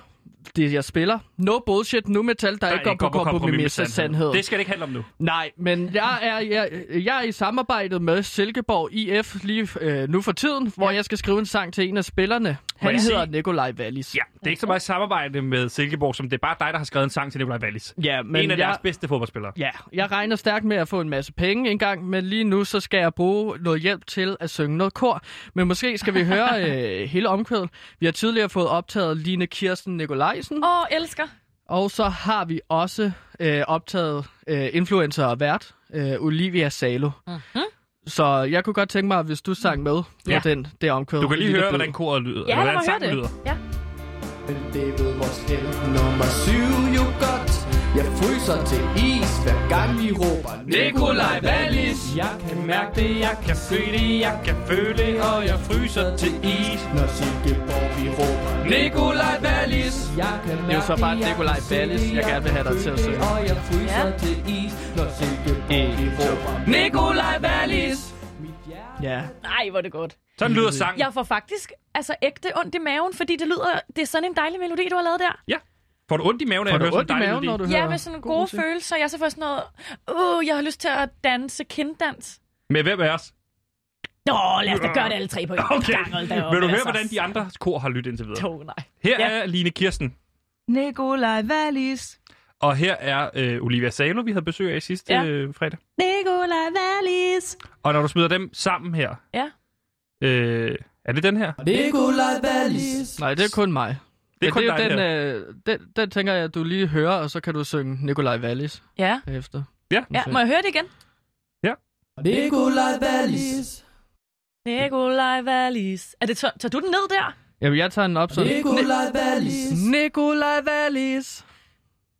C: det, jeg spiller. No bullshit, nu metal, der, der ikke går på kompromis med sandhed.
A: Det skal det ikke handle om nu.
C: Nej, men jeg er, jeg, jeg er i samarbejdet med Silkeborg IF lige øh, nu for tiden, hvor jeg skal skrive en sang til en af spillerne. Han
A: jeg
C: hedder
A: sige-
C: Nikolaj Wallis.
A: Ja, det er ikke så meget samarbejde med Silkeborg, som det er bare dig, der har skrevet en sang til Nikolaj Wallis.
C: ja
A: Men en af
C: men
A: jeg... deres
C: jeg,
A: bedste fodboldspillere.
C: ja, jeg regner stærkt med at få en masse penge engang, men lige nu så skal jeg bruge noget hjælp til at synge noget kor. Men måske skal vi høre øh, hele omkvædet. Vi har tidligere fået optaget Line Kirsten Nikolajsen.
F: Åh, elsker.
C: Og så har vi også øh, optaget øh, influencer og vært, øh, Olivia Salo. Mm-hmm. Så jeg kunne godt tænke mig, hvis du sang med på
A: Ja.
C: ja. den, det omkvæd.
A: Du kan lige
C: Lille
A: høre,
C: Bød.
A: hvordan koret lyder.
F: Ja,
A: eller
F: lad
A: hvordan
F: mig høre
A: sangen
F: det.
A: lyder.
F: Ja.
E: Men det ved måske nummer syv jo godt Jeg fryser til is, hver gang vi råber Nikolaj Wallis Jeg kan mærke det, jeg kan se det, jeg kan føle det Og jeg fryser til is, når Silkeborg vi råber Nikolaj Wallis Jeg kan mærke
C: Det er jo så bare Nikolaj Wallis, jeg gerne vil have dig til at synge.
E: Og jeg fryser
F: Ja.
E: til is, når Silkeborg vi råber Nikolaj Wallis Mit hjerte
C: Ja.
F: Nej, hvor er det godt.
A: Sådan lyder sangen.
F: Jeg får faktisk altså ægte ondt i maven, fordi det lyder, det er sådan en dejlig melodi, du har lavet der.
A: Får du ondt i maven, af
C: Får
A: at
C: du
A: høre
C: ondt i
A: sådan en
C: maven,
A: dejlig
C: når
A: melodi?
C: du
F: Ja,
C: hører
F: med sådan
C: god
F: gode
C: musik?
F: følelser. Jeg så får sådan noget, uh, jeg har lyst til at danse kinddans.
A: Med hvem af os?
F: Nå, lad os da gøre det alle tre på en gang. hold da op,
A: Vil du høre,
F: altså.
A: hvordan de andre kor har lyttet indtil videre?
F: To, nej.
A: Her
F: Ja.
A: er Line Kirsten,
F: Nikolaj Wallis.
A: og her er øh, Olivia Salo, vi havde besøg af sidste
F: Ja.
A: øh, fredag.
F: Nikolaj Wallis.
A: Og når du smider dem sammen her...
F: Ja.
A: Øh, er det den her?
E: Nikolaj Wallis
C: Nej, det er kun mig.
A: Det er
C: Men
A: kun
C: det er
A: dig,
C: jo
A: det
C: den, øh, den, den tænker jeg, at du lige hører, og så kan du synge Nikolaj Wallis
F: Ja.
C: efter.
F: ja, må jeg høre det igen?
E: Nikolaj Wallis
F: Nikolaj Wallis. Er det, tager, tager du den ned der?
C: Jamen, jeg tager den op sådan.
E: Nikolaj Wallis
C: Nikolaj Wallis.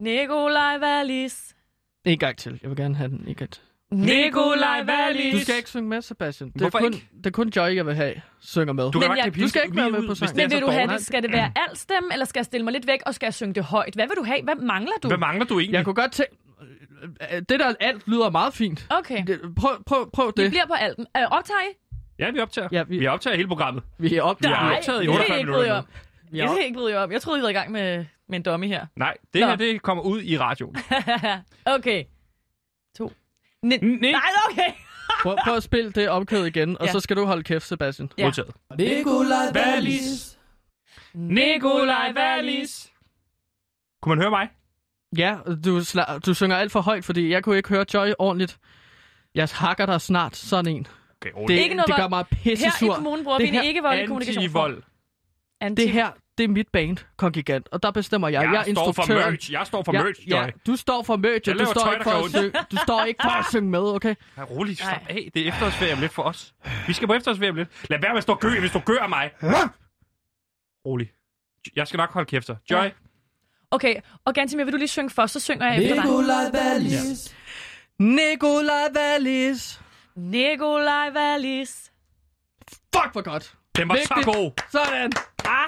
F: Nikolaj Wallis.
C: En gang til. Jeg vil gerne have den en gang til.
F: Nikolaj Wallis.
C: Du skal ikke synge med, Sebastian. Det er,
A: Hvorfor
C: kun,
A: ikke?
C: det er kun Joy, jeg vil have, synger med.
A: Du, kan
F: Men
A: godt
F: jeg-
A: klippe
C: du skal
A: hende
C: ikke være
A: lige
C: med
A: ud,
C: på
A: hvis
C: sangen.
A: det er
F: Men vil
A: så
F: du have
A: dårligt.
F: det? Skal det være alt stemme, eller skal jeg stille mig lidt væk og skal jeg synge det højt? Hvad vil du have? Hvad mangler du?
A: Hvad mangler du egentlig?
C: Jeg kunne godt tænke... Det der alt lyder meget fint.
F: Okay,
C: Det- Prøv, prøv, prøv
F: vi
C: det.
F: bliver på alten. Øh, optager I?
A: Ja, vi optager.
C: Ja, vi-
A: vi optager hele programmet.
C: Vi er op
A: Vi har
F: Nej,
A: optaget i
F: det er
A: 48
F: ikke bryde
A: minutter
F: om.
A: nu.
F: Det er ikke bryde om. Jeg troede, I var i gang med, med en dummy her.
A: Nej, det
F: Nå.
A: her det kommer ud i radioen.
F: okay. To. Ni-
A: Ni-
F: Nej, okay.
C: Prøv, prøv at spille det omkød igen, og
F: Ja.
C: så skal du holde kæft, Sebastian.
F: Ja.
A: Modtaget.
E: Nikolaj Wallis
A: Nikolaj Wallis. Kunne man høre mig?
C: Ja, du, sla- du synger alt for højt, fordi jeg kunne ikke høre Joy ordentligt. Jeg hakker dig snart, sådan en.
A: Okay, roligt.
C: Det,
F: Ikke noget
C: det gør
F: vold.
C: mig
F: Her i
C: pissesur.
F: kommunen bruger vi
C: Det
F: en
C: her
F: ikke-voldelig kommunikation.
A: Anti-vold.
F: Anti-
C: Det her, det er mit band, Kongigant, og der bestemmer jeg.
A: Jeg,
C: jeg er
A: står for
C: instruktøren.
A: merch. Jeg står for
C: Ja,
A: merch, Joy.
C: ja, du står for merch,
A: Jeg
C: og du
A: laver
C: står,
A: tøj, der
C: ikke for
A: gør
C: at
A: ondt.
C: synge, du står ikke for at synge med, okay?
A: Ja, roligt, slap
F: Ej.
A: af. Det er efterårsferie om lidt for os. Vi skal på efterårsferie om lidt. Lad være med at stå og gø, hvis du gør mig. Rolig. Jeg skal nok holde kæft så. Joy,
F: Okay, og Gantimir, vil du lige synge først, så synger jeg efter dig.
E: Nikolaj Wallis
C: Nikolaj Wallis.
F: Nikolaj Wallis.
C: Fuck, hvor godt.
A: den var så
C: Vigtigt.
A: god.
C: Sådan.
F: Ah,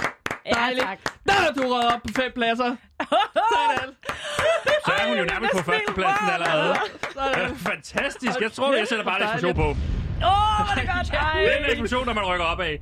C: Dejligt.
F: Ja, tak.
C: Der er du røget op på fem pladser. Sådan.
A: Så er hun jo
F: Ej,
A: nærmest
F: det
A: på
F: er
A: førstepladsen
F: snildt.
A: allerede.
C: Sådan.
A: Fantastisk. Jeg tror, jeg sætter bare en eksplosion på.
F: Åh, oh, hvor er det godt. Ej,
A: Den er en eksplosion, når man rykker op af.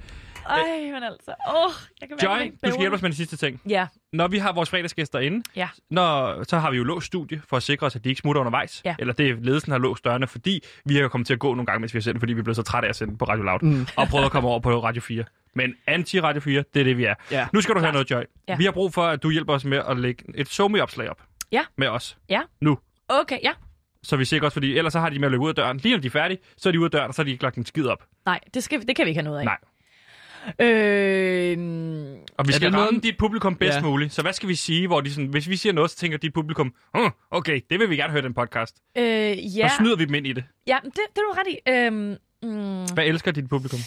F: Ej men altså. Åh, oh, jeg kan
A: Joy,
F: mærke,
A: du skal hjælpe os med den sidste ting.
F: Ja,
A: Når vi har vores fredagsgæster inde,
F: ja.
A: når, så har vi jo låst studie for at sikre os, at de ikke smutter undervejs.
F: Ja.
A: Eller det ledelsen har låst dørene, fordi vi har jo kommet til at gå nogle gange, mens vi har sendt, fordi vi er blevet så trætte af at sende på Radio Loud. Mm. Og prøvet at komme over på Radio 4. Men anti-Radio 4, det er det, vi er.
C: Ja.
A: Nu skal du høre noget, Joy.
F: Ja.
A: Vi har brug for, at du hjælper os med at lægge et somi-opslag op
F: Ja.
A: med os.
F: Ja.
A: Nu.
F: Okay, ja.
A: Så vi sikrer os, fordi ellers så har de med at løbe ud af døren. Lige når de er færdige, så er de ude af døren, og så har de ikke lagt en skid op.
F: Nej, det, skal, vi- det kan vi ikke have noget af.
A: Nej.
F: Øh,
D: Øhm,
A: Og vi
C: Er
A: skal
C: det
A: ramme
C: noget-
A: dit publikum bedst
C: Ja.
A: muligt. Så hvad skal vi sige, hvor de sådan, hvis vi siger noget, så tænker dit publikum, "Hm, okay, det vil vi gerne høre i den podcast.
F: øh,
A: Ja.
F: ja,
A: Så snyder vi dem ind i det.
F: ja men det, det er du ret i. Øhm, mm,
A: Hvad elsker dit publikum?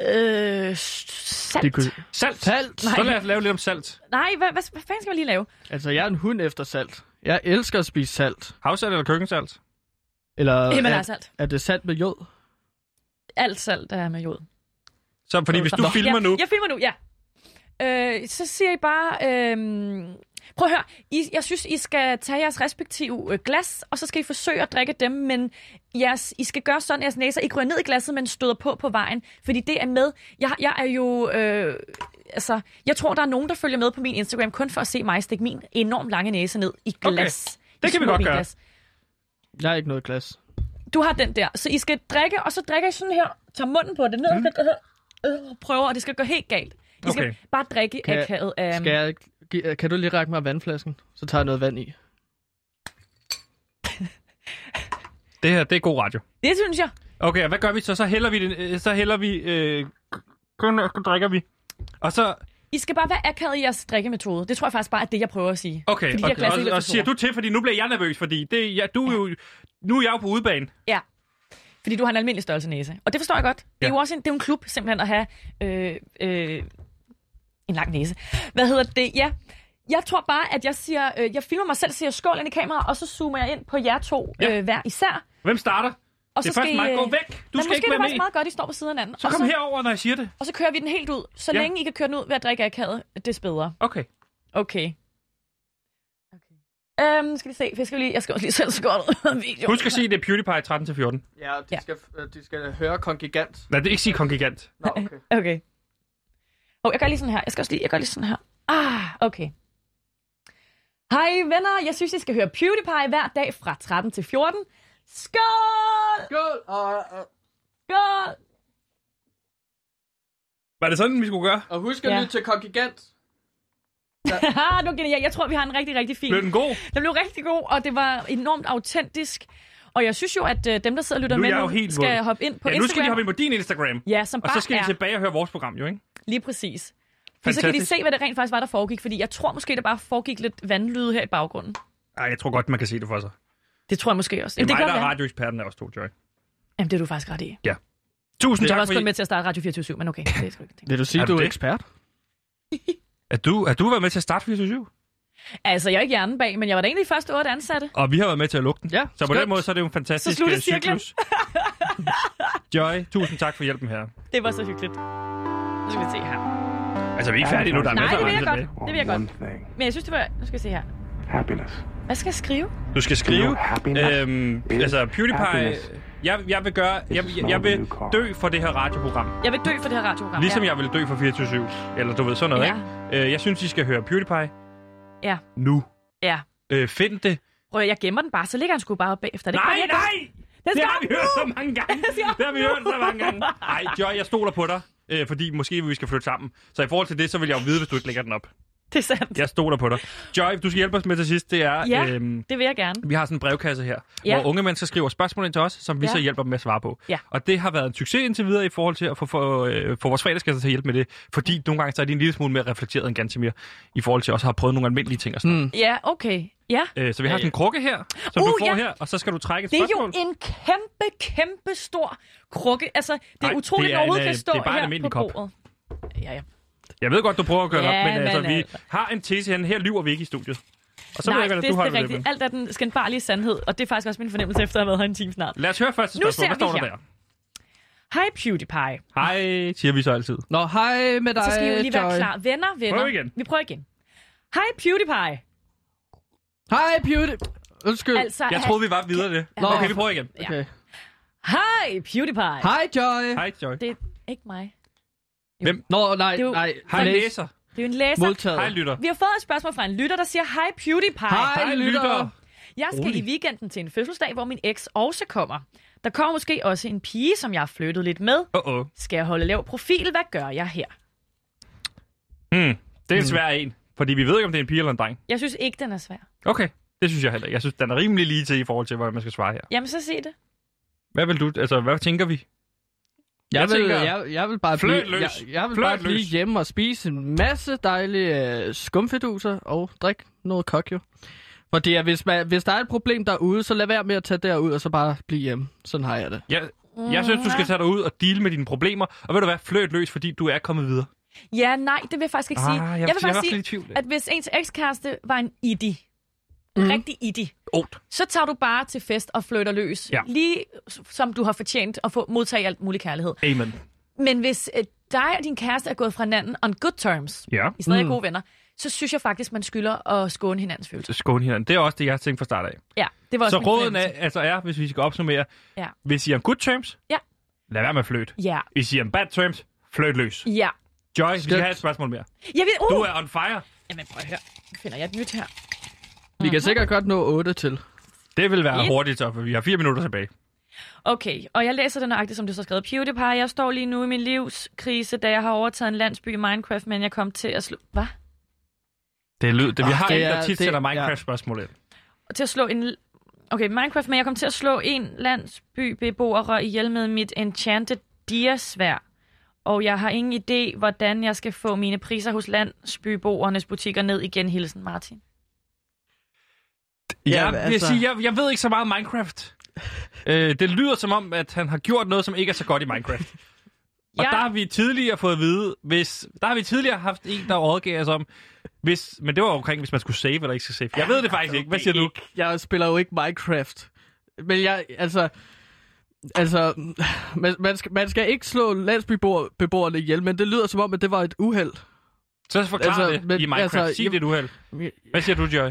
F: Øh, salt.
C: Det kunne-
A: Salt!
C: Salt.
A: Så lad os lave lidt om salt.
F: Nej, hvad, hvad, hvad fanden skal man lige lave?
C: Altså, jeg er en hund efter salt. Jeg elsker at spise salt.
A: Havsalt eller køkkensalt?
C: Eller
F: Jamen, altså- der
C: er,
F: er salt.
C: er det salt med jod?
F: Alt salt der er med jod.
A: Så, fordi hvis du
F: Nå.
A: filmer
F: ja,
A: nu...
F: Jeg filmer nu, ja. Øh, så siger I bare... Øh, prøv at høre. I, jeg synes, I skal tage jeres respektive øh, glas, og så skal I forsøge at drikke dem, men jeres, I skal gøre sådan, at jeres næser ikke ryger ned i glasset, men støder på på vejen. Fordi det er med... Jeg, jeg er jo... Øh, altså, jeg tror, der er nogen, der følger med på min Instagram, kun for at se mig stikke min enormt lange næse ned i
A: Okay.
F: glas. Okay.
A: Det kan vi godt gøre.
C: Jeg har ikke noget glas.
F: Du har den der. Så I skal drikke, og så drikker I sådan her. Tager munden på det ned. Mm. Øh, prøver, og det skal gå helt galt. I skal
A: Okay.
F: bare drikke
C: Kan-
F: akavet øhm, af...
C: Skal jeg, ikke- gi- øh, kan du lige række mig vandflasken? Så tager jeg noget vand i.
A: Det her, det er god radio.
F: Det synes jeg.
A: Okay, og hvad gør vi så? Så hælder vi... Den, øh, så hælder vi... Øh, kun drikker vi. Og så...
F: I skal bare være akavet i jeres drikkemetode. Det tror jeg faktisk bare er det, jeg prøver at sige.
A: Okay,
F: Fordi
A: og,
F: jeg glasser
A: og,
F: lidt
A: og,
F: for
A: siger
F: store.
A: du til, fordi nu bliver jeg nervøs, fordi det, ja, du er jo... Nu er jeg jo på udebane.
F: Ja. Fordi du har en almindelig størrelse næse. Og det forstår jeg godt. Det er
A: Ja.
F: jo også en, det er jo en klub, simpelthen, at have øh, øh, en lang næse. Hvad hedder det? Ja. Jeg tror bare, at jeg siger, øh, jeg filmer mig selv, siger skål ind i kameraet, og så zoomer jeg ind på jer to
A: Ja.
F: øh, hver især.
A: Hvem starter?
F: Og
A: det er
F: så
A: først
F: skal
A: mig.
F: I, øh,
A: Gå væk! Du
F: men
A: skal
F: måske
A: ikke
F: er det
A: være
F: faktisk
A: med.
F: meget godt, at I står ved siden af hinanden.
A: Så
F: og,
A: kom
F: så,
A: herover, når jeg siger det.
F: og så kører vi den helt ud. Så
A: Ja.
F: længe I kan køre den ud ved at drikke akavet, des bedre.
A: Okay.
F: Okay. Okay. Øhm, skal vi se. Jeg skal lige, jeg skal også lige selv skåret video.
A: Husk at sige, det er PewDiePie 13-14.
C: Ja, de,
F: Ja.
C: Skal, øh, de skal høre kongigant.
A: Nej, det er ikke sige kongigant.
C: Nå, okay.
F: Okay. Og jeg gør lige sådan her. Jeg skal også lige, jeg gør lige sådan her. Ah, okay. Hej venner, jeg synes, I skal høre PewDiePie hver dag fra 13 til 14. Skål!
C: Skål! Og, og,
F: Skål!
A: Var det sådan, vi skulle gøre?
C: og husk
F: at Ja. lytte
C: til kongigant.
F: Haha, du er Ah, genial. Jeg tror, vi har en rigtig, rigtig fin.
A: Blev den god?
F: Den blev rigtig god, og det var enormt autentisk. Og jeg synes jo, at øh, dem, der sidder og lytter
A: Nu er
F: med
A: jeg jo
F: nu,
A: helt
F: skal
A: våd.
F: hoppe ind på
A: ja, nu
F: Instagram.
A: skal de hoppe ind på din Instagram.
F: Ja, som
A: Og
F: bare
A: så skal
F: er
A: de tilbage og høre vores program, jo ikke?
F: lige præcis. For så kan de
A: Fantastisk.
F: se, hvad det rent faktisk var, der foregik. Fordi jeg tror måske, der bare foregik lidt vandlyde her i baggrunden.
A: Ej, jeg tror godt, man kan se det for sig. Det
F: Det tror jeg måske også.
A: er
F: Jamen, det
A: mig,
F: kan
A: der
F: godt
A: er
F: være.
A: radioeksperten af os to, Joy.
F: Jamen, det er du faktisk ret i.
A: Tusind
F: Jeg var
A: tak,
F: også
A: fordi...
F: kun med til at starte Radio 24 men okay. Det er sgu ikke tænkt.
C: Vil du sige,
A: Er
C: er
A: du
C: du er
A: det?
C: ekspert?
A: At du, at du har været med til at starte 24
F: altså, jeg er ikke hjernen bag, men jeg var da en af de første otte ansatte.
A: Og vi har været med til at lukke den.
C: Ja,
A: så på
C: skønt.
A: den måde, så er det jo en fantastisk
F: Så slutter
A: øh,
F: cirklen.
A: cyklus. Joy, tusind tak for hjælpen her.
F: Det var så hyggeligt. Nu skal vi se her.
A: Altså, vi er ikke færdige nu, der er
F: Nej,
A: masser
F: det
A: af
F: vil jeg
A: radio
F: godt.
A: tilbage.
F: Det vil jeg godt. Men jeg synes, det var... Nu skal vi se her.
I: Happiness.
F: Hvad skal jeg skrive?
A: Du skal skrive,
I: Happiness.
A: øhm, altså PewDiePie,
I: Happiness.
A: jeg, jeg vil gøre, jeg, jeg, jeg vil dø for det her radioprogram.
F: Jeg vil dø for det her radioprogram.
A: Ligesom
F: ja.
A: jeg ville dø for 24-7. Eller du ved, sådan noget,
F: Ja.
A: ikke? Øh, jeg synes, I skal høre PewDiePie.
F: Ja.
A: Nu.
F: Ja.
A: Øh, find det.
F: Prøv at- jeg gemmer den bare, så ligger han sgu bare oppe efter. Det
A: Nej,
F: kan jeg godt.
A: nej!
F: Den
A: Det
F: skal
A: har
F: op
A: vi
F: nu!
A: hørt så mange gange. Det har vi hørt så mange gange. Nej, Joy, jeg stoler på dig. Øh, fordi måske vi skal flytte sammen. Så i forhold til det, så vil jeg jo vide, hvis du ikke lægger den op.
F: Det er sandt.
A: Jeg stoler på dig. Joy, du skal hjælpe os med til sidst. Det er,
F: Ja.
A: øhm,
F: Det vil jeg gerne.
A: vi har sådan en brevkasse her,
F: Ja.
A: hvor unge mennesker skriver spørgsmål ind til os, som vi
F: Ja.
A: så hjælper dem med at svare på.
F: Ja.
A: Og det har været en succes indtil videre i forhold til at få, få, øh, få vores fredagskasser til at hjælpe med det, fordi nogle gange så er de en lille smule mere reflekteret end ganske mere, i forhold til også at have prøvet nogle almindelige ting og sådan mm.
F: Ja, okay. Mm. Ja.
A: øh, Så vi har sådan en krukke her, som
F: Uh,
A: du får
F: ja.
A: her, og så skal du trække et
F: Det er jo
A: spørgsmål.
F: en kæmpe, kæmpe stor krukke. Altså, det er
A: Nej,
F: utroligt,
A: det er
F: at den overhovedet
A: en,
F: kan
A: øh,
F: stå
A: det er bare en
F: her på
A: almindelig kop.
F: bordet. Ja, ja.
A: Jeg ved godt, du prøver at gøre
F: Ja,
A: op, men altså,
F: men
A: vi
F: altså.
A: har en tese her, her lyver vi ikke i studiet. Og så ved jeg,
F: Nej,
A: hvad
F: det,
A: du har
F: det
A: det
F: er
A: med.
F: rigtigt. Alt er den skændbarlige sandhed, og det er faktisk også min fornemmelse efter at have været her en time snart.
A: Lad os høre første
F: Nu
A: spørgsmål. Hvad
F: ser
A: står
F: vi
A: der der?
F: Hej PewDiePie.
A: Hej, siger vi så altid.
C: Nå, hej med dig,
F: Så skal I jo lige være
C: Joy.
F: klar. Venner, venner.
A: Prøv igen.
F: Vi prøver igen. Hej PewDiePie.
C: Hej, Beauty. Undskyld.
F: Altså,
A: Jeg troede, vi var videre det.
C: Nå.
A: Okay, vi prøver igen.
F: ja.
C: Okay.
F: Hej PewDiePie.
C: Hej, Joy.
A: Hej, Joy.
F: Det er ikke mig.
C: Nå, nej,
F: Det er jo-
C: nej.
A: Hej,
C: Læs.
A: læser.
F: Det er jo en læser.
C: Modtaget.
A: Hej, lytter.
F: Vi har fået et spørgsmål fra en lytter, der siger, hej PewDiePie.
C: Hej,
A: Hej, lytter.
C: lytter.
F: Jeg skal
A: Rolig.
F: i weekenden til en fødselsdag, hvor min eks også kommer. Der kommer måske også en pige, som jeg har flyttet lidt med.
A: Åh, åh.
F: Skal jeg holde lav profil? Hvad gør jeg her?
A: Hmm. Det er en svær en, fordi vi ved ikke, om det er en pige eller en dreng.
F: Jeg synes ikke, den er svær.
A: Okay, det synes jeg heller ikke. Jeg synes, den er rimelig lige til i forhold til, hvordan man skal svare her.
F: Jamen, så sig det.
A: Hvad vil du, altså, hvad tænker vi?
C: Jeg,
A: Jeg
C: vil,
A: tænker-
C: jeg, jeg vil bare
A: Fløjt
C: blive,
A: løs.
C: jeg, jeg vil
A: Fløjt
C: bare blive
A: løs.
C: hjemme og spise en masse dejlige øh, skumfiduser og drikke noget kokjo. Fordi at hvis, man, hvis der er et problem derude, så lad være med at tage derud og så bare blive hjemme. Sådan har jeg det.
A: Jeg, Jeg synes, du skal tage dig ud og deal med dine problemer. Og ved du hvad? Fløt løs, fordi du er kommet videre.
F: Ja, nej, det vil jeg faktisk ikke sige.
A: Ah, jeg
F: jeg
A: vil
F: vil
A: sige, jeg er
F: faktisk
A: også
F: sige,
A: lidt i tvivl.
F: at hvis ens ekskæreste var en iddi, en
D: Mm.
F: rigtig iddi,
A: Ondt.
F: så tager du bare til fest og flytter løs.
A: Ja.
F: Lige s- som du har fortjent at få modtage alt mulig kærlighed.
A: Amen.
F: Men hvis øh, dig og din kæreste er gået fra hinanden on good terms,
A: Ja.
F: I stadig er gode venner, så synes jeg faktisk, man skylder at skåne hinandens følelser.
A: Skåne hinanden. Det er også det, jeg har tænkt fra start af.
F: Ja, det var også
A: Så
F: min
A: råden er,
F: fornemmelse.
A: altså er, hvis vi skal opsummere,
F: Ja.
A: hvis I er on good terms,
F: Ja.
A: lad være med at fløjte.
F: Ja,
A: Hvis I er on bad terms, fløjt løs.
F: ja.
A: Joy, vi skal have et spørgsmål mere.
F: Jeg ved, uh,
A: Du er on fire.
F: Jamen prøv at høre. Nu finder jeg et nyt her.
C: Vi kan sikkert godt nå 8 til.
A: Det vil være
F: Fedt.
A: hurtigt, så, for vi har fire minutter tilbage.
F: Okay, og jeg læser den nøjagtigt, som det så skrevet. PewDiePie, jeg står lige nu i min livskrise, da jeg har overtaget en landsby i Minecraft, men jeg kom til at slå... Hvad?
A: Det er lyd. Det, vi har
C: det
A: en, der
C: er-
A: tit
C: det-
A: sætter
C: ja.
A: Minecraft-spørgsmål ind.
F: Til at slå en... Okay, Minecraft, men jeg kom til at slå en landsbybeboer ihjel med mit enchanted diasvær. Og jeg har ingen idé, hvordan jeg skal få mine priser hos landsbyboernes butikker ned igen. Hilsen, Martin.
A: Ja,
C: Ja,
A: jeg, vil
C: altså-
A: sige, jeg, jeg ved ikke så meget om Minecraft. øh, det lyder som om, at han har gjort noget, som ikke er så godt i Minecraft. Og
F: Jeg-
A: der har vi tidligere fået at vide, hvis... Der har vi tidligere haft en, der rådgav os om, hvis... Men det var omkring, hvis man skulle save eller ikke skulle save. Jeg ved det faktisk ikke. Hvad siger du?
C: Jeg spiller jo ikke Minecraft. Men jeg, altså... Altså, man, man, skal, man skal ikke slå landsbybeboerne ihjel, men det lyder som om, at det var et uheld.
A: Så forklar altså,
C: Altså,
A: det i
C: men-
A: Minecraft. Altså,
C: altså,
A: Sig
C: jeg-
A: det, du held. Hvad siger du, Joy?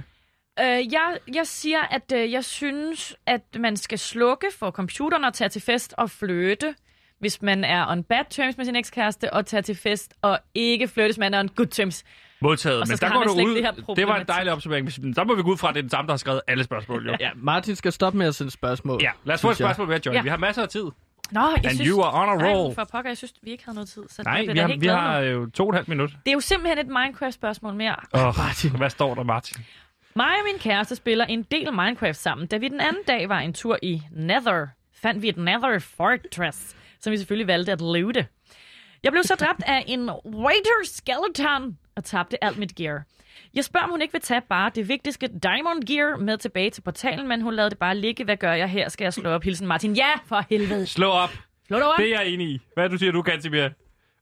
F: Øh, jeg, jeg siger, at øh, jeg synes, at man skal slukke for computeren og tage til fest og flirte, hvis man er on bad terms med sin ekskæreste, og tage til fest og ikke flirte, hvis man er on good terms.
A: Modtaget.
F: Og så
A: Men
F: skal
A: der går
F: han have
A: du
F: slet
A: ud.
F: det her
A: Det, det var en
F: problematik.
A: dejlig opsummering. Men Der må vi gå ud fra, at det er den samme, der har skrevet alle spørgsmål. Jo. ja.
C: Ja, Martin skal stoppe med at sende spørgsmål.
A: ja. Lad os få et
C: Synes jeg.
A: spørgsmål mere, Joy.
F: Ja.
A: Vi har masser af tid.
F: Nå, jeg
A: And
F: synes...
A: you are on a
F: Ej,
A: roll.
F: for pokker, jeg synes, vi ikke havde noget tid, så Nej,
A: Nej,
F: det
A: vi
F: bliver
A: har,
F: helt
A: vi
F: glad
A: har
F: nu.
A: jo to og et halvt minut.
F: Det er jo simpelthen et Minecraft-spørgsmål mere.
A: Oh,
C: Martin.
A: Hvad står der, Martin?
F: Mig og min kæreste spiller en del Minecraft sammen. Da vi den anden dag var en tur i Nether, fandt vi et Nether Fortress, som vi selvfølgelig valgte at loote. Jeg blev så dræbt af en Waiter Skeleton og tabte alt mit gear. Jeg spørger, om hun ikke vil tage bare det vigtigste Diamond Gear med tilbage til portalen, men hun lader det bare ligge. Hvad gør jeg her? Skal jeg slå op? Hilsen Martin. Ja, for helvede.
A: Slå op.
F: Slå dig over.
A: Det er jeg enig i. Hvad er det, du siger, du kan til mere?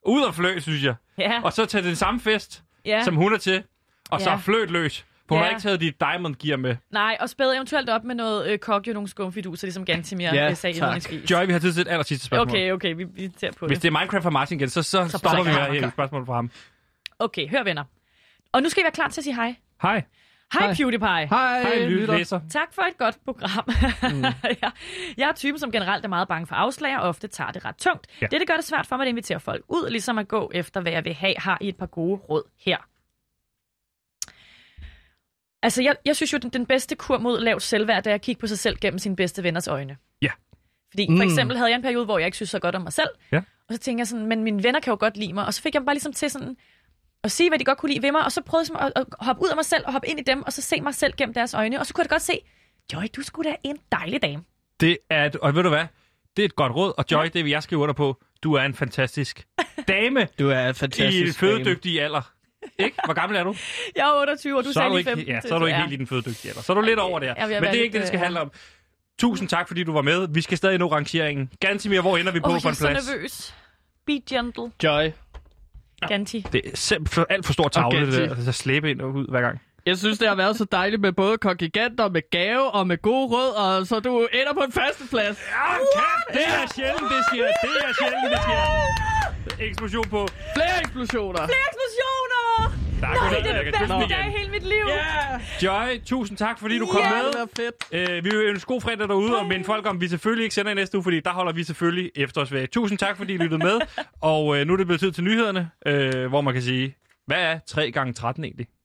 A: Ud og flø, synes jeg.
F: Ja,
A: Og så tage den samme fest,
F: ja.
A: ja. som hun er til. Og ja. så
F: Ja.
A: fløt løs. For hun
F: Ja.
A: har ikke taget dit diamond gear med.
F: Nej, og spæd eventuelt op med noget øh, kokjo, nogle skumfiduser, ligesom Gantimir
C: Ja,
F: øh, sagde
C: tak.
F: indledningsvis.
A: Joy, vi har tid til et aller sidste spørgsmål.
F: Okay, okay, vi, vi tager på
A: Hvis
F: det.
A: det er Minecraft for Martin igen, så, så, så stopper vi
F: brækker
A: her
F: han.
A: her et spørgsmål fra ham.
F: Okay, hør venner. Og nu skal I være klar til at sige hej.
A: Hej.
F: Hej,
C: Hej.
F: PewDiePie.
C: Hej,
A: Hej,
C: lytter.
A: læser.
F: Tak for et godt program. Mm. jeg, jeg er typen, som generelt er meget bange for afslag, og ofte tager det ret tungt.
A: Ja.
F: Ja. Det, det gør det svært for mig at invitere folk ud, ligesom at gå efter, hvad jeg vil have. Har I et par gode råd her? Altså, jeg, jeg synes jo, den, den bedste kur mod lavt selvværd, det er at kigge på sig selv gennem sine bedste venners øjne.
A: Ja.
F: Fordi
C: Mm.
F: for eksempel havde jeg en periode, hvor jeg ikke synes så godt om mig selv.
A: Ja.
F: Og så tænkte jeg sådan, men mine venner kan jo godt lide mig. Og så fik jeg bare ligesom til sådan at sige, hvad de godt kunne lide ved mig. Og så prøvede jeg at, at hoppe ud af mig selv og hoppe ind i dem, og så se mig selv gennem deres øjne. Og så kunne jeg da godt se, Joy, du skulle da en dejlig dame.
A: Det er et, og ved du hvad? Det er et godt råd, og Joy, det vil jeg skrive under på. Du er en fantastisk dame
C: Du er en
A: i
C: fantastisk
A: en fødedygtig alder. Ikke? Hvor gammel er du?
F: Jeg er 28, og du
A: så er
F: sagde
A: du
F: lige
A: ikke,
F: 15.
A: ja, så er du ikke helt i den fødedygtige alder. Så er du lidt
F: det-
A: over der.
F: jeg vil
A: Men
F: være
A: det er ikke
F: lidt,
A: det, det skal
F: øh,
A: handle om. Tusind tak, fordi du var med. Vi skal stadig nå rangeringen. Gantimir, hvor ender vi på
F: Åh,
A: for
F: jeg
A: en
F: er
A: plads?
F: så nervøs. Be gentle,
C: Joy.
F: Ganti.
A: Det er simpelthen alt for stor tavle,
C: Okay,
A: okay, det der.
C: til-
A: Altså, slæbe ind og ud hver gang.
C: Jeg synes, det har været så dejligt med både kongiganter, med gave og med gode råd, og så du ender på en førsteplads.
A: Det er sjældent, det sker. Det er sjældent, det sker. Eksplosion på.
C: Flere eksplosioner.
F: Eksplosioner!
A: Tak,
F: Nej,
A: goddag.
F: det er
A: Jeg
F: den
A: kan kysse
F: bedste
A: den
F: dag i
A: igen.
F: hele mit liv.
A: Joy, tusind tak, fordi du kom
F: Ja.
C: Det
A: med.
C: er fedt.
A: Øh, vi vil ønske god fredag derude, og minde folk om, at vi selvfølgelig ikke sender i næste uge, fordi der holder vi selvfølgelig efterårsferie. Tusind tak, fordi I lyttede med, og øh, nu er det blevet tid til nyhederne, øh, hvor man kan sige, hvad er 3 gange 13 egentlig?